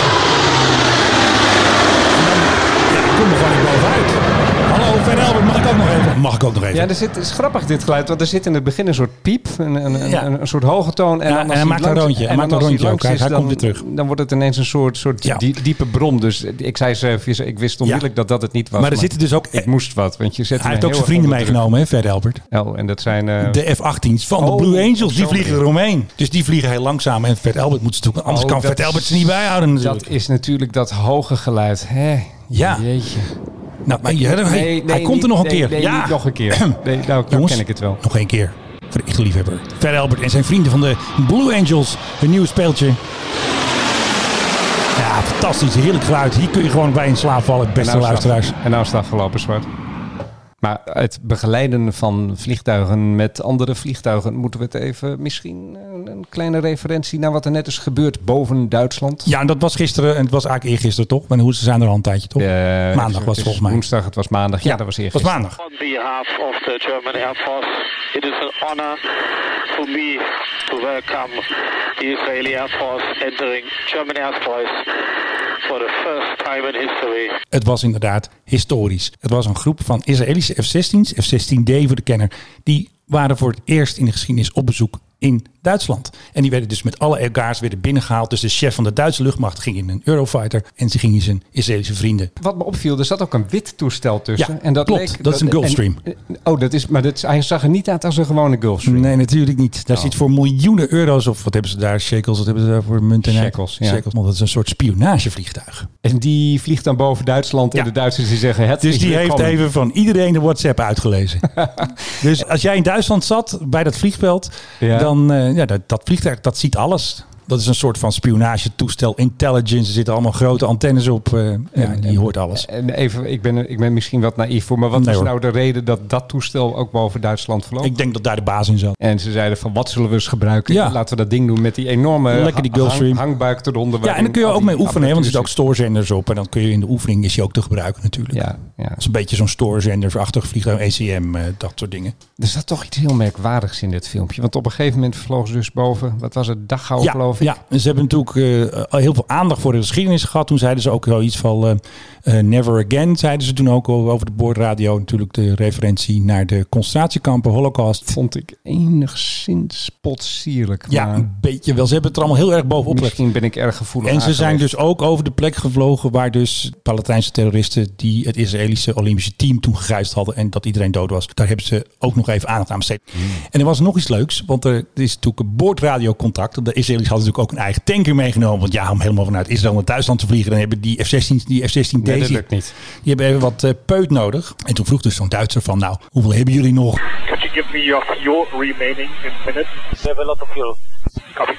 S1: Ja, ik kom er gewoon niet bovenuit. Hallo, Fat Albert, mag ik ook nog even? Mag ik ook nog even?
S2: ja er zit, het is grappig dit geluid, want er zit in het begin een soort piep, een, een, een-
S1: Ja.
S2: een, een soort hoge toon. En,
S1: Ja,
S2: dan
S1: en
S2: als
S1: hij
S2: die
S1: maakt een
S2: langs-
S1: rondje, hij
S2: en dan
S1: maakt een
S2: als
S1: rondje
S2: die langs
S1: ook. Hij-
S2: is,
S1: hij
S2: dan,
S1: komt weer terug.
S2: Dan wordt het ineens een soort, soort
S1: Ja.
S2: die- diepe brom. Dus ik zei ze, ik wist onmiddellijk dat dat het niet was.
S1: maar er zitten dus ook...
S2: ik moest wat, want je zet
S1: Hij
S2: me
S1: heeft ook
S2: heel
S1: zijn vrienden
S2: erg onder
S1: meegenomen, hè, Fat Albert.
S2: druk. Oh, en dat zijn... eh,
S1: De F-18's van de
S2: Oh,
S1: Blue Angels, die
S2: zo
S1: vliegen
S2: bedoel.
S1: eromheen. Dus die vliegen heel langzaam. En Fat Albert moet ze natuurlijk... Anders
S2: Oh,
S1: kan
S2: dat
S1: Fat Albert
S2: is-
S1: ze niet bijhouden natuurlijk.
S2: dat is natuurlijk dat hoge geluid. Hè?
S1: Ja.
S2: Jeetje.
S1: nou, maar, ja, hij hij komt
S2: niet-
S1: er nog een
S2: nee,
S1: keer.
S2: Nee,
S1: ja.
S2: niet nog een keer. Nee, nou, nou
S1: Jongens,
S2: ken ik het wel.
S1: Nog één keer. Voor de echte liefhebber. Fat Albert en zijn vrienden van de Blue Angels. Hun nieuw speeltje. Ja, fantastisch. Heerlijk geluid. Hier kun je gewoon bij in slaap vallen, beste
S2: nou is het
S1: luisteraars.
S2: af- en nou is het afgelopen, Zwart. Maar het begeleiden van vliegtuigen met andere vliegtuigen... moeten we het even misschien een- een kleine referentie... naar wat er net is gebeurd boven Duitsland.
S1: Ja, en dat was gisteren. En het was eigenlijk eergisteren, toch? Maar hoe ze zijn er al een tijdje, toch?
S2: Eh,
S1: Maandag
S2: het
S1: was
S2: is
S1: volgens mij.
S2: Woensdag, het was maandag. Ja, dat was
S1: was
S2: eergisteren.
S1: maandag.
S9: On behalf of the German Air Force, it is an honor for me to welcome the Israeli Air Force entering German airspace for the first time in history.
S1: Het was inderdaad historisch. Het was een groep van Israëlische F-16's, F-16D voor de kenner. Die waren voor het eerst in de geschiedenis op bezoek in Duitsland. En die werden dus met alle Elgaars weer binnengehaald. Dus de chef van de Duitse luchtmacht ging in een Eurofighter. En ze gingen zijn Israëlische vrienden.
S2: Wat me opviel, er zat ook een wit toestel tussen.
S1: Ja, klopt. Dat is een Gulfstream.
S2: en- oh, dat is, maar dat, is- hij zag er niet uit als een gewone Gulfstream.
S1: Nee, natuurlijk niet. Daar zit voor miljoenen euro's of wat hebben ze daar? Shekels, wat hebben ze daar voor munt en
S2: Shekels, ja.
S1: Shekels, want dat is een soort spionagevliegtuig.
S2: En die vliegt dan boven Duitsland
S1: Ja.
S2: en de Duitsers die zeggen het
S1: Dus
S2: is
S1: die heeft
S2: willkommen.
S1: even van iedereen de WhatsApp uitgelezen. dus als jij in Duitsland zat, bij dat vliegveld,
S2: Ja.
S1: dan eh, ja, dat, dat vliegtuig dat ziet alles. Dat is een soort van spionagetoestel, intelligence. Er zitten allemaal grote antennes op. eh, ja,
S2: en-
S1: die hoort alles.
S2: En even, ik ben, ik ben misschien wat naïef voor, maar wat
S1: Nee,
S2: is
S1: hoor.
S2: nou de reden dat dat toestel ook boven Duitsland vloog?
S1: Ik denk dat daar de baas in zat.
S2: En ze zeiden van wat zullen we eens gebruiken?
S1: Ja.
S2: Laten we dat ding doen met die enorme
S1: Lekker die
S2: ha-
S1: Gulfstream.
S2: hang- hangbuik eronder.
S1: Ja, en dan kun je ook mee oefenen, hè, want er zitten ook stoorzenders op. En dan kun je in de oefening is je ook te gebruiken natuurlijk.
S2: Ja, ja.
S1: Dat is een beetje zo'n stoorzenderachtig vliegtuig, ECM, eh, dat soort dingen.
S2: Er zat toch iets heel merkwaardigs in dit filmpje. Want op een gegeven moment vloog ze dus boven, wat was het, Dachau
S1: ja,
S2: geloof ik?
S1: Ja, En ze hebben natuurlijk eh, al heel veel aandacht voor de geschiedenis gehad. Toen zeiden ze ook wel iets van eh, eh, Never Again, zeiden ze toen ook al over de boordradio. Natuurlijk de referentie naar de concentratiekampen, Holocaust.
S2: Vond ik enigszins potsierlijk.
S1: Ja,
S2: maar
S1: een beetje wel. Ze hebben het er allemaal heel erg bovenop gelegd.
S2: misschien ben ik erg gevoelig
S1: En ze zijn
S2: aangelegd.
S1: dus ook over de plek gevlogen waar dus Palestijnse terroristen die het Israëlische Olympische team toen gegijzeld hadden en dat iedereen dood was. Daar hebben ze ook nog even aandacht aan besteed.
S2: Hmm.
S1: En er was nog iets leuks, want er is natuurlijk een boordradiocontact. Want De Israëli's hadden natuurlijk ook een eigen tanker meegenomen. Want ja, om helemaal vanuit Israël naar Duitsland te vliegen, dan hebben die F-16, die F-16
S2: Nee, dat lukt niet.
S1: Die hebben even wat eh, peut nodig. En toen vroeg dus zo'n Duitser van, nou, hoeveel hebben jullie nog?
S9: Could you give me your fuel remaining in minutes?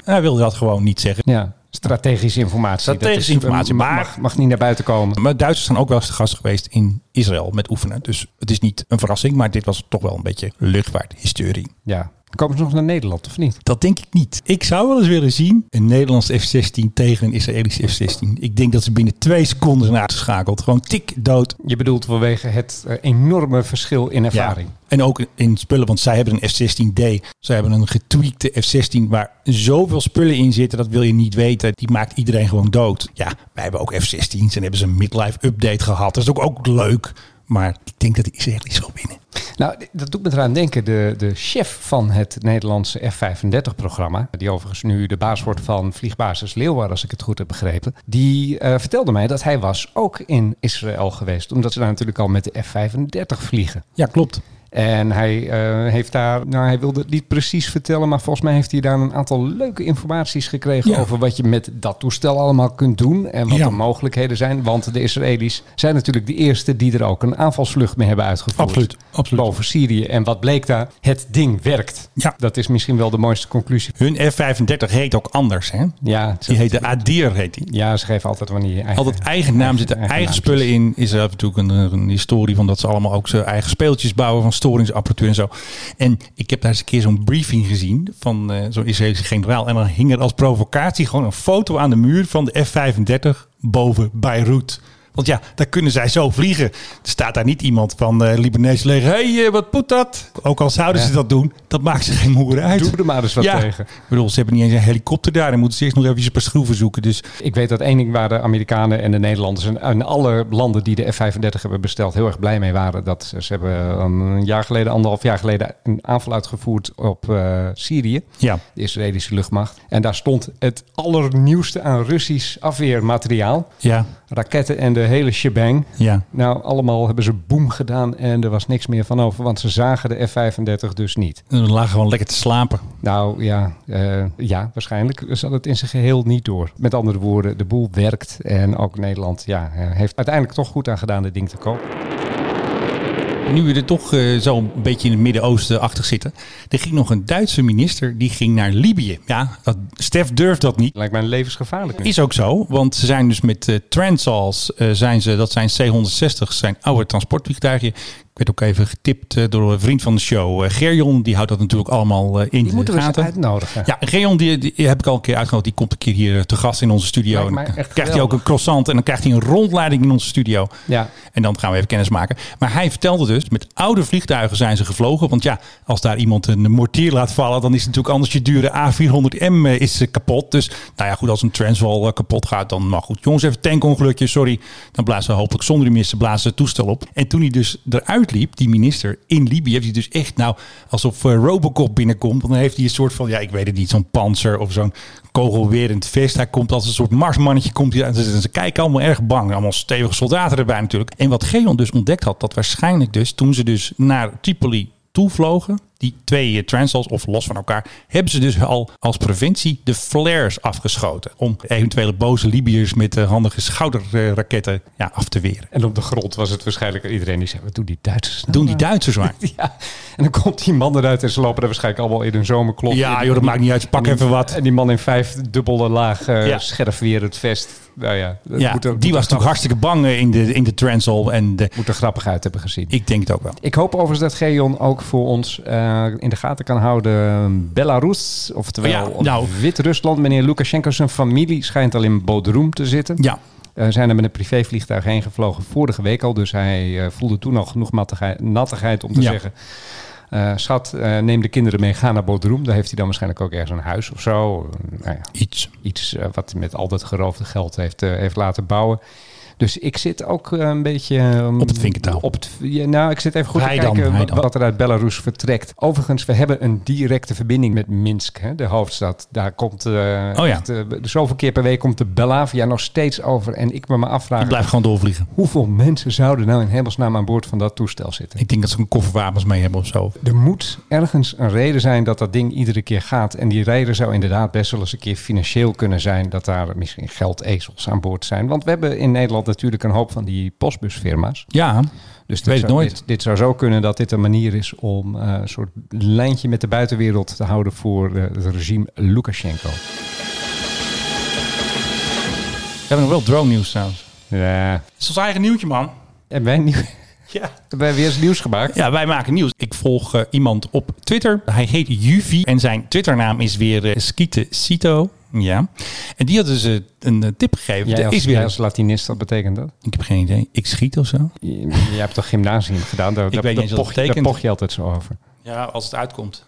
S1: Hij wilde dat gewoon niet zeggen.
S2: Ja, strategische informatie. Dat
S1: Strategische
S2: is-
S1: informatie,
S2: mag-
S1: maar-
S2: Mag, mag niet naar buiten komen.
S1: Maar Duitsers zijn ook wel eens te gast geweest in Israël met oefenen. Dus het is niet een verrassing, maar dit was toch wel een beetje luchtvaarthistorie.
S2: Ja. Komen ze nog naar Nederland of niet?
S1: Dat denk ik niet. Ik zou wel eens willen zien een Nederlands F-16 tegen een Israëlische F-16. Ik denk dat ze binnen twee seconden zijn uitgeschakeld. Gewoon tik dood.
S2: Je bedoelt vanwege het eh, enorme verschil in ervaring.
S1: En ook in spullen, want zij hebben een F-16D. Zij hebben een getweakte F-16 waar zoveel spullen in zitten. Dat wil je niet weten. Die maakt iedereen gewoon dood. Ja, wij hebben ook F-16's en hebben ze een midlife update gehad. Dat is ook, ook leuk. Maar ik denk dat de Israëli's wel winnen.
S2: Nou, d- dat doet me eraan denken. De, de chef van het Nederlandse F-35-programma, die overigens nu de baas wordt van vliegbasis Leeuwarden, als ik het goed heb begrepen, die eh, vertelde mij dat hij was ook in Israël geweest. Omdat ze daar natuurlijk al met de F-35 vliegen.
S1: Ja, klopt.
S2: En hij eh, heeft daar, nou hij wilde het niet precies vertellen, maar volgens mij heeft hij daar een aantal leuke informaties gekregen
S1: Ja.
S2: over wat je met dat toestel allemaal kunt doen en wat
S1: Ja.
S2: de mogelijkheden zijn. Want de Israëli's zijn natuurlijk de eerste die er ook een aanvalsvlucht mee hebben uitgevoerd.
S1: Absoluut, absoluut.
S2: Boven Syrië. En wat bleek daar? Het ding werkt.
S1: Ja.
S2: Dat is misschien wel de mooiste conclusie.
S1: Hun F-35 heet ook anders, hè?
S2: Ja,
S1: Die
S2: ze,
S1: heet de Adir, heet die.
S2: ja, ze geven altijd wanneer je eigen,
S1: Altijd eigen naam zitten, eigen,
S2: naampjes.
S1: spullen in. Israël heeft natuurlijk een, eh, een historie van dat ze allemaal ook zijn eigen speeltjes bouwen van storingsapparatuur en zo. En ik heb daar eens een keer zo'n briefing gezien van eh, zo'n Israëlische generaal. En dan hing er als provocatie gewoon een foto aan de muur van de F-35 boven Beirut. Want ja, daar kunnen zij zo vliegen. Er staat daar niet iemand van eh Libanese leger. Hé, hey, eh, wat poet dat? Ook al zouden
S2: Ja.
S1: ze dat doen, dat maakt ze geen moer uit.
S2: Doe er maar eens wat tegen.
S1: Ik bedoel, ze hebben niet eens een helikopter daar. Dan moeten ze eerst nog even een paar schroeven zoeken. Dus
S2: Ik weet dat één ding waar de Amerikanen en de Nederlanders en, en alle landen die de F-35 hebben besteld heel erg blij mee waren. Dat ze, ze hebben een jaar geleden, anderhalf jaar geleden, een aanval uitgevoerd op eh, Syrië.
S1: ja,
S2: De Israëlische luchtmacht. En daar stond het allernieuwste aan Russisch afweermateriaal.
S1: ja,
S2: Raketten en de hele shebang.
S1: ja.
S2: Nou, allemaal hebben ze boem gedaan en er was niks meer van over, want ze zagen de F-35 dus niet.
S1: En we lagen gewoon lekker te slapen.
S2: Nou ja, eh, ja, waarschijnlijk zat het in zijn geheel niet door. Met andere woorden, de boel werkt en ook Nederland ja, eh, heeft uiteindelijk toch goed aan gedaan dit ding te kopen.
S1: Nu we er toch eh, zo een beetje in het Midden-Oosten achter zitten. Er ging nog een Duitse minister, die ging naar Libië. Ja, dat, Stef durft dat niet.
S2: Lijkt mij levensgevaarlijk nu.
S1: Is ook zo, want ze zijn dus met eh Transals, eh, zijn ze, dat zijn C-160, zijn oude transportvliegtuigje. Ik werd ook even getipt eh, door een vriend van de show, eh, Gerjon. Die houdt dat natuurlijk allemaal eh, in
S2: Die moeten we
S1: de
S2: eens
S1: gaten.
S2: uitnodigen.
S1: Ja, Gerjon die, die heb ik al een keer uitgenodigd. Die komt een keer hier eh, te gast in onze studio.
S2: Lijkt
S1: En
S2: mij
S1: dan
S2: echt
S1: krijgt hij ook
S2: geweldig.
S1: een croissant en dan krijgt hij een rondleiding in onze studio.
S2: Ja.
S1: En dan gaan we even kennis maken. Maar hij vertelde dus, met oude vliegtuigen zijn ze gevlogen. Want ja, als daar iemand een mortier laat vallen, dan is het natuurlijk anders je dure A400M eh, is eh, kapot. Dus nou ja, goed, als een Transvaal eh, kapot gaat, dan mag goed. Jongens, even tankongelukje, sorry. Dan blazen we hopelijk zonder die missen blazen het toestel op. En toen hij dus eruit rondliep, die minister in Libië, heeft hij dus echt nou alsof eh, Robocop binnenkomt. Dan heeft hij een soort van, ja, ik weet het niet, zo'n panzer of zo'n kogelwerend vest. Hij komt als een soort marsmannetje. Komt hij, uit. en ze kijken allemaal erg bang. Allemaal stevige soldaten erbij natuurlijk. En wat Geon dus ontdekt had, dat waarschijnlijk dus toen ze dus naar Tripoli toevlogen, die twee eh, transals of los van elkaar, hebben ze dus al als preventie de flares afgeschoten. Om eventuele boze Libiërs met eh, handige schouderraketten eh, ja, af te weren.
S2: En op de grond was het waarschijnlijk iedereen die zei, wat doen die Duitsers nou?
S1: Doen die Duitsers maar.
S2: Ja, en dan komt die man eruit en ze lopen er waarschijnlijk allemaal in hun zomerklok.
S1: Ja,
S2: En die-
S1: joh, dat maakt niet uit. Ze pakken
S2: en die-
S1: even wat.
S2: En die man in vijf dubbele laag eh
S1: Ja.
S2: scherfwerend vest. Nou ja, dat
S1: Ja,
S2: moet
S1: die was
S2: er- moet er
S1: natuurlijk
S2: grap-
S1: hartstikke bang eh, in de, in de transal. En de,
S2: Moet er grappig uit hebben gezien.
S1: ik denk het ook wel.
S2: Ik hoop overigens dat Geon ook voor ons eh, in de gaten kan houden. Belarus, oftewel
S1: Ja, nou.
S2: Wit-Rusland. Meneer Lukashenko, zijn familie schijnt al in Bodrum te zitten.
S1: Ja,
S2: Eh, zijn er met een privévliegtuig heen gevlogen vorige week al. Dus hij eh, voelde toen al genoeg mattigheid- nattigheid om te
S1: Ja.
S2: zeggen... eh, schat, eh, neem de kinderen mee, ga naar Bodrum. Daar heeft hij dan waarschijnlijk ook ergens een huis of zo. Eh, nou ja,
S1: iets.
S2: iets eh, wat hij met al dat geroofde geld heeft, eh, heeft laten bouwen. Dus ik zit ook eh, een beetje... ehm,
S1: Op het vinkertouw.
S2: Op het, ja, nou, ik zit even goed
S1: Hij
S2: te
S1: dan,
S2: kijken
S1: hij
S2: wat-
S1: dan.
S2: wat er uit Belarus vertrekt. Overigens, we hebben een directe verbinding met Minsk, hè, de hoofdstad. Daar komt eh
S1: Oh ja.
S2: echt, eh, zoveel keer per week komt de Belavia nog steeds over. En ik me maar
S1: Ik
S2: afvragen,
S1: blijf gewoon doorvliegen.
S2: hoeveel mensen zouden nou in hemelsnaam aan boord van dat toestel zitten?
S1: Ik denk dat ze een kofferwapens mee hebben of zo.
S2: Er moet ergens een reden zijn dat dat ding iedere keer gaat. En die reden zou inderdaad best wel eens een keer financieel kunnen zijn. Dat daar misschien geldezels aan boord zijn. Want we hebben in Nederland natuurlijk een hoop van die postbusfirma's.
S1: Ja,
S2: Dus
S1: weet het
S2: zou,
S1: nooit.
S2: Dit, dit zou zo kunnen dat dit een manier is om eh, een soort lijntje met de buitenwereld te houden voor eh, het regime Lukashenko.
S1: we hebben nog wel drone nieuws trouwens.
S2: Ja.
S1: Het is ons eigen nieuwtje, man.
S2: Hebben wij, nieuw,
S1: Ja.
S2: hebben wij weer eens nieuws gemaakt?
S1: Ja, wij maken nieuws. Ik volg eh, iemand op Twitter. Hij heet Juvi en zijn Twitternaam is weer eh, Skiete Cito. Ja. En die had dus eh, een eh, tip gegeven.
S2: Jij
S1: Er
S2: als,
S1: is weer
S2: jij als Latinist, wat betekent dat?
S1: Ik heb geen idee. Ik schiet of zo.
S2: Je, je hebt toch gymnasium gedaan? Daar,
S1: Ik
S2: daar,
S1: weet niet
S2: daar
S1: eens wat
S2: poch-
S1: het
S2: daar
S1: betekent.
S2: poch je altijd zo over.
S1: Ja, als het uitkomt.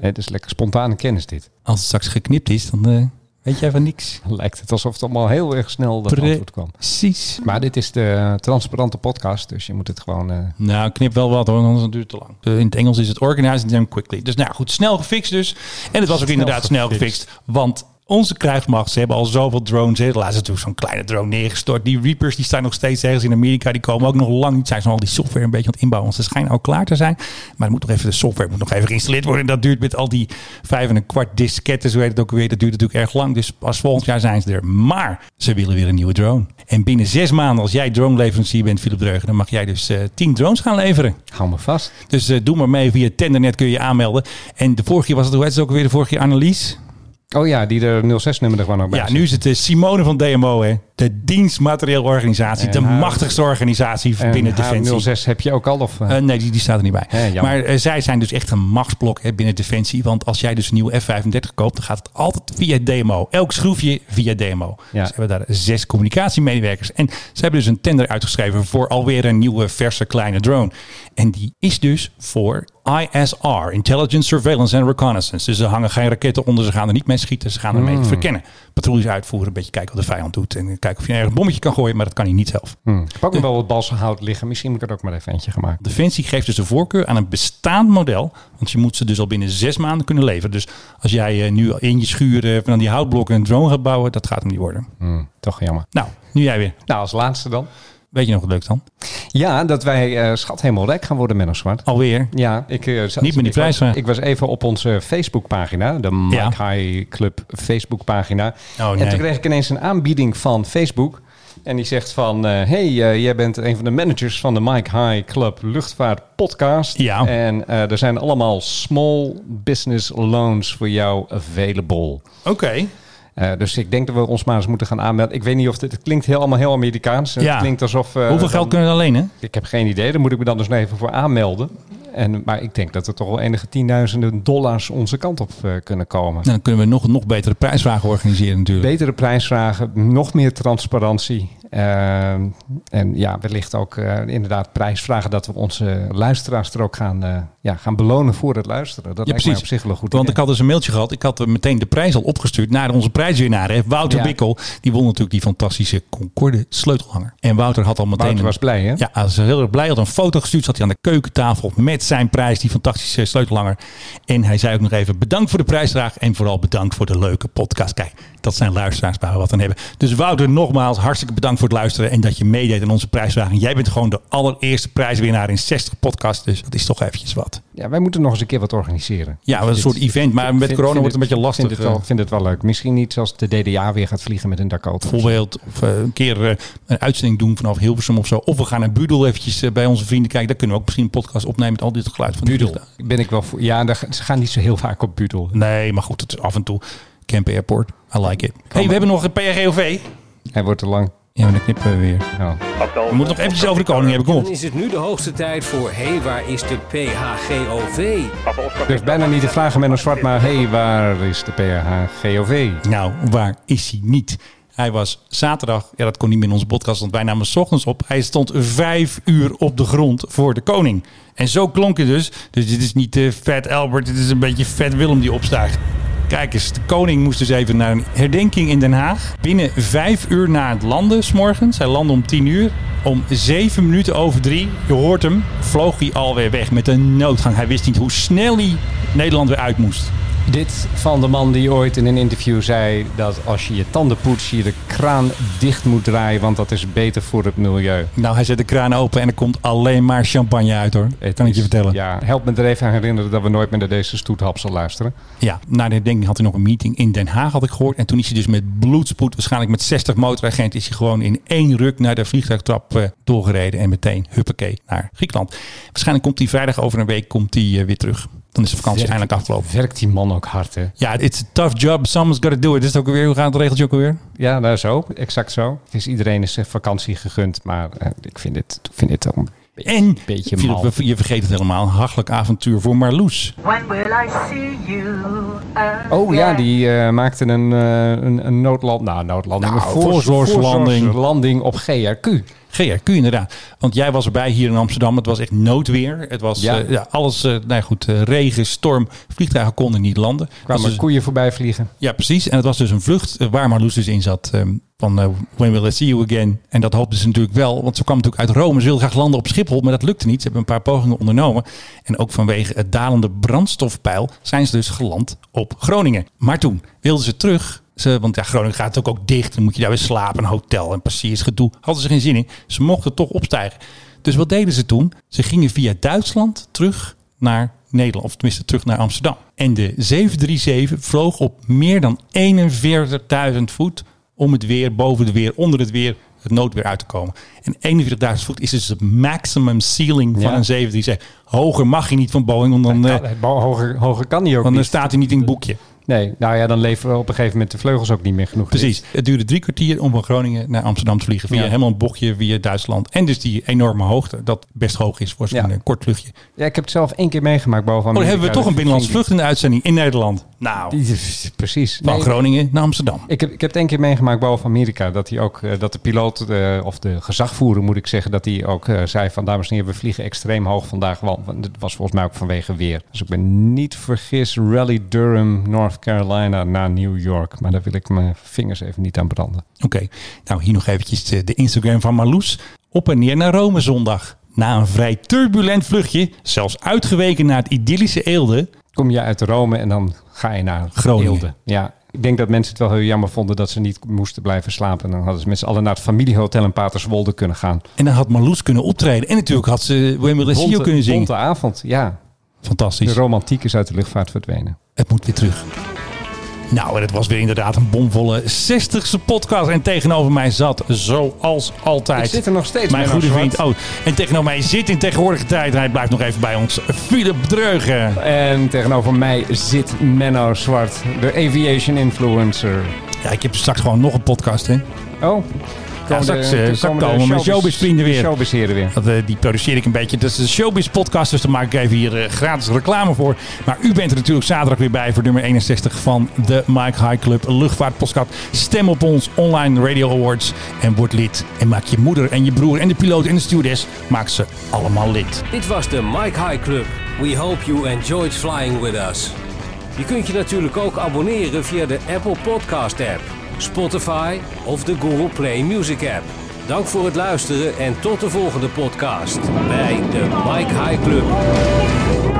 S2: Hè, Het is lekker spontane kennis dit.
S1: Als het straks geknipt is, dan eh, weet jij van niks.
S2: lijkt het alsof het allemaal heel erg snel dat antwoord kwam.
S1: Precies.
S2: Maar dit is de transparante podcast, dus je moet het gewoon... eh,
S1: Nou, knip wel wat hoor, anders duurt het te lang. Eh, In het Engels is het organize and then quickly. Dus nou goed, snel gefixt dus. En het was ook inderdaad snel gefixt. Want onze krijgsmacht, ze hebben al zoveel drones. Hè. Laatst is natuurlijk zo'n kleine drone neergestort. Die Reapers die staan nog steeds ergens in Amerika. Die komen ook nog lang niet. Zijn ze al die software een beetje aan het inbouwen. Want ze schijnen al klaar te zijn. Maar er moet nog even, de software moet nog even geïnstalleerd worden. En dat duurt met al die vijf en een kwart disketten. Zo heet het ook weer. Dat duurt natuurlijk erg lang. Dus pas volgend jaar zijn ze er. Maar ze willen weer een nieuwe drone. En binnen zes maanden, als jij drone-leverancier bent, Philip Dreugen, dan mag jij dus eh, tien drones gaan leveren.
S2: hou me vast.
S1: Dus eh, doe maar mee. Via Tendernet kun je je aanmelden. En de vorige keer was het, hoe heet ze ook weer? De vorige keer Annelies.
S2: Oh ja, die er 06-nummer er gewoon ook bij
S1: Ja,
S2: zit.
S1: nu is het eh, Simone van DMO, hè. De dienstmaterieelorganisatie. De
S2: En haar-
S1: machtigste organisatie
S2: En
S1: binnen
S2: haar
S1: Defensie.
S2: 06 heb je ook al, of... eh,
S1: Eh, nee, die, die staat er niet bij.
S2: Hè, jammer.
S1: maar eh, zij zijn dus echt een machtsblok hè, binnen Defensie. Want als jij dus een nieuwe F-35 koopt, dan gaat het altijd via DMO. Elk schroefje via DMO.
S2: Ja.
S1: Ze hebben daar zes communicatiemedewerkers. En ze hebben dus een tender uitgeschreven voor alweer een nieuwe verse kleine drone. En die is dus voor ISR, Intelligence Surveillance and Reconnaissance. Dus er hangen geen raketten onder, ze gaan er niet mee schieten, ze gaan ermee
S2: Hmm.
S1: verkennen. Patrouilles uitvoeren, een beetje kijken wat de vijand doet. En kijken of je ergens een bommetje kan gooien, maar dat kan hij niet zelf.
S2: hm. Ik heb
S1: eh.
S2: ook nog wel wat balsenhout liggen. Misschien moet ik er ook maar even eentje gemaakt.
S1: Defensie geeft dus de voorkeur aan een bestaand model. Want je moet ze dus al binnen zes maanden kunnen leveren. Dus als jij eh, nu in je schuur eh, van die houtblokken een drone gaat bouwen, dat gaat hem niet worden.
S2: Hm, toch jammer.
S1: Nou, nu jij weer.
S2: Nou, als laatste dan.
S1: Weet je nog wat leuk dan?
S2: Ja, dat wij eh, schat helemaal rijk gaan worden, Menno Zwart.
S1: Alweer.
S2: Ja, ik, eh,
S1: Niet
S2: zat-
S1: meer die
S2: ik was-
S1: prijsvraag.
S2: Ik was even op onze Facebookpagina, de Mike High Club Facebookpagina.
S1: Oh, nee.
S2: En toen kreeg ik ineens een aanbieding van Facebook. En die zegt van, eh, hey, eh, jij bent een van de managers van de Mike High Club Luchtvaart Podcast.
S1: Ja.
S2: En eh, er zijn allemaal small business loans voor jou available.
S1: Oké.
S2: Eh, dus ik denk dat we ons maar eens moeten gaan aanmelden. Ik weet niet of dit, het klinkt heel, allemaal heel Amerikaans.
S1: Ja.
S2: Het klinkt alsof... eh,
S1: Hoeveel
S2: dan-
S1: geld kunnen we lenen? Nou,
S2: ik heb geen idee, daar moet ik me dan dus nog even voor aanmelden. En, maar ik denk dat er toch wel enige tienduizenden dollars onze kant op eh, kunnen komen.
S1: Nou, dan kunnen we nog, nog betere prijsvragen organiseren natuurlijk.
S2: Betere prijsvragen, nog meer transparantie. Ehm, en ja, wellicht ook eh, inderdaad prijsvragen dat we onze luisteraars er ook gaan, eh, ja, gaan belonen voor het luisteren. Dat
S1: Ja,
S2: lijkt mij
S1: precies.
S2: op zich wel een goed
S1: Want ik
S2: idee.
S1: had dus een mailtje gehad. Ik had er meteen de prijs al opgestuurd naar onze prijswinnaar. hè. Wouter
S2: Ja.
S1: Wikkel. Die won natuurlijk die fantastische Concorde sleutelhanger. En Wouter had al meteen...
S2: Wouter
S1: een-
S2: was blij, hè?
S1: Ja, hij was heel erg blij. Hij had een foto gestuurd. Zat hij aan de keukentafel met zijn prijs. Die fantastische sleutelhanger. En hij zei ook nog even bedankt voor de prijsvraag. En vooral bedankt voor de leuke podcast. Kijk, dat zijn luisteraars waar we wat aan hebben. Dus Wouter, nogmaals hartstikke bedankt voor het luisteren. En dat je meedeed aan onze prijsvraag. En jij bent gewoon de allereerste prijswinnaar in 60 podcasts. Dus dat is toch eventjes wat.
S2: Ja, wij moeten nog eens een keer wat organiseren.
S1: Ja, een
S2: Dit-
S1: soort event. Maar met
S2: Vind-
S1: corona
S2: vind
S1: wordt het een beetje lastig. eh.
S2: Vind het, wel, vind het wel leuk. Misschien niet zoals de DDA weer gaat vliegen met een Dakota.
S1: bijvoorbeeld. Of eh, een keer eh, een uitzending doen vanaf Hilversum of zo. Of we gaan naar Budel eventjes eh, bij onze vrienden kijken. Daar kunnen we ook misschien een podcast opnemen met al dit geluid van de
S2: Budel.
S1: vliegtuigen.
S2: Ben ik wel voor. Ja, daar ga- ze gaan niet zo heel vaak op Budel.
S1: Nee, maar goed, het is af en toe. Camp Airport, I like it. hey, we hebben nog een PRGOV.
S2: Hij wordt te lang.
S1: Ja, maar dan knippen we weer.
S2: Oh.
S1: We moeten nog eventjes over de koning hebben, kom op.
S3: Is het nu de hoogste tijd voor Hé, waar is de PHGOV?
S2: Dus bijna niet de vragen met een zwart, maar hey, waar is de PHGOV?
S1: Nou, waar is hij niet? Hij was zaterdag, ja dat kon niet meer in onze podcast, want wij namen 's ochtends op. Hij stond vijf uur op de grond voor de koning. En zo klonk het dus. Dus dit is niet eh, vet Albert, dit is een beetje vet Willem die opstijgt. Kijk eens, de koning moest dus even naar een herdenking in Den Haag. Binnen vijf uur na het landen, s'morgens. Hij landde om tien uur. Om zeven minuten over drie, je hoort hem, vloog hij alweer weg met een noodgang. Hij wist niet hoe snel hij Nederland weer uit moest.
S2: Dit van de man die ooit in een interview zei dat als je je tanden poetst, je de kraan dicht moet draaien, want dat is beter voor het milieu.
S1: Nou, hij zet de kraan open en er komt alleen maar champagne uit hoor.
S2: Het
S1: kan ik je
S2: is-
S1: vertellen. Ja.
S2: Dus, Ja, help me er even aan herinneren dat we nooit meer naar deze stoethap zal luisteren.
S1: na de herdenking had hij nog een meeting in Den Haag, had ik gehoord. En toen is hij dus met bloedspoed, waarschijnlijk met 60 motoragenten, is hij gewoon in één ruk naar de vliegtuigtrap eh, doorgereden. En meteen, huppakee, naar Griekenland. Waarschijnlijk komt hij vrijdag over een week komt hij, eh, weer terug. Dan is de vakantie
S2: Werkt-
S1: eindelijk afgelopen.
S2: Werkt die man ook hard, hè?
S1: Ja, it's a tough job. Someone's gotta do it. Dit is het ook weer, hoe gaat het regeltje ook alweer?
S2: Ja, nou zo, exact zo. Het is iedereen is eh, vakantie gegund, maar eh, ik vind dit, ik vind dit een
S1: En,
S2: beetje
S1: Philip,
S2: mal.
S1: we- je vergeet het helemaal, een hachelijk avontuur voor Marloes.
S7: When will I see you?
S2: Oh ja, die eh, maakte een, eh, een, een noodland, nou noodlanding,
S1: Nou,
S2: een voorzorgs-
S1: voorzorgslanding.
S2: voorzorgslanding op GRQ.
S1: GRQ inderdaad. Want jij was erbij hier in Amsterdam. Het was echt noodweer. Het was
S2: Ja.
S1: ja. ja, alles, eh, nou ja, goed, eh, regen, storm. Vliegtuigen konden niet landen.
S2: Kwamen
S1: Was dus-
S2: koeien voorbij vliegen.
S1: ja, precies. En het was dus een vlucht eh, waar Marloes dus in zat. ehm, van eh, When Will I See You Again. En dat hoopten ze natuurlijk wel. Want ze kwam natuurlijk uit Rome. Ze wilde graag landen op Schiphol. Maar dat lukte niet. Ze hebben een paar pogingen ondernomen. En ook vanwege het dalende brandstofpeil zijn ze dus geland op Groningen. Maar toen wilden ze terug. Ze, want ja, Groningen gaat ook, ook dicht. Dan moet je daar weer slapen. Een hotel en passiersgedoe. Hadden ze geen zin in. Ze mochten toch opstijgen. Dus wat deden ze toen? Ze gingen via Duitsland terug naar Nederland, of tenminste terug naar Amsterdam. En de 737 vloog op meer dan 41.000 voet om het weer, boven het weer, onder het weer, het noodweer uit te komen. En 41.000 voet is dus het maximum ceiling van
S2: Ja.
S1: een 737. Hoger mag je niet van Boeing, want dan, eh,
S2: Kan- Nou, hoger, hoger kan die ook
S1: want dan
S2: niet.
S1: staat hij niet in het boekje.
S2: Nee, nou ja, dan leveren op een gegeven moment de vleugels ook niet meer genoeg.
S1: Precies. Het duurde drie kwartier om van Groningen naar Amsterdam te vliegen. Via
S2: Ja.
S1: helemaal een bochtje, via Duitsland. En dus die enorme hoogte, dat best hoog is voor zo'n
S2: Ja.
S1: eh, kort vluchtje.
S2: Ja, ik heb het zelf één keer meegemaakt boven
S1: Oh, dan
S2: Amerika.
S1: hebben we toch een binnenlands vlucht in de uitzending in Nederland. Nou,
S2: Precies.
S1: van
S2: Nee,
S1: Groningen naar Amsterdam.
S2: ik heb, ik heb het één keer meegemaakt boven Amerika. Dat, hij ook, eh, dat de piloot, eh, of de gezagvoerder moet ik zeggen, dat hij ook eh, zei van dames en heren, we vliegen extreem hoog vandaag. Want want het was volgens mij ook vanwege weer. Als ik me niet vergis, Rally Durham, North Carolina naar New York. Maar daar wil ik mijn vingers even niet aan branden.
S1: Oké, nou hier nog eventjes de, de Instagram van Marloes. Op en neer naar Rome zondag. Na een vrij turbulent vluchtje, zelfs uitgeweken naar het idyllische Eelde.
S2: kom je uit Rome en dan ga je naar
S1: Groningen.
S2: Eelde. Ja, ik denk dat mensen het wel heel jammer vonden dat ze niet moesten blijven slapen. En dan hadden ze met z'n allen naar het familiehotel in Paterswolde kunnen gaan.
S1: En dan had Marloes kunnen optreden. En natuurlijk had ze When Will I See You
S2: Bonte-
S1: kunnen zingen.
S2: bonte avond, ja. De
S1: Fantastisch.
S2: romantiek is uit de luchtvaart verdwenen.
S1: Het moet weer terug. Nou, en het was weer inderdaad een bomvolle 60ste podcast. En tegenover mij zat, zoals altijd...
S2: Ik zit er nog steeds,
S1: Mijn
S2: Menno
S1: goede
S2: Zwart.
S1: vriend. Oh, en tegenover mij zit in tegenwoordige tijd... en hij blijft nog even bij ons, Philip Dreugen.
S2: En tegenover mij zit Menno Zwart, de aviation influencer.
S1: Ja, ik heb straks gewoon nog een podcast, hè.
S2: Oh,
S1: Ja,
S2: komen de-
S1: straks, eh,
S2: toen
S1: straks
S2: komen de
S1: komen mijn
S2: showbiz-
S1: showbizvrienden weer.
S2: Showbizheren weer.
S1: Dat, eh, die produceer ik een beetje. Dat is de Showbiz Podcast, dus daar maak ik even hier eh, gratis reclame voor. Maar u bent er natuurlijk zaterdag weer bij voor nummer 61 van de Mike High Club Luchtvaartpodcast. Stem op ons online Radio Awards en word lid. En maak je moeder en je broer en de piloot en de stewardess, maak ze allemaal lid.
S3: Dit was de Mike High Club. We hope you enjoyed flying with us. Je kunt je natuurlijk ook abonneren via de Apple Podcast app, Spotify of de Google Play Music app. Dank voor het luisteren en tot de volgende podcast bij de Mike High Club.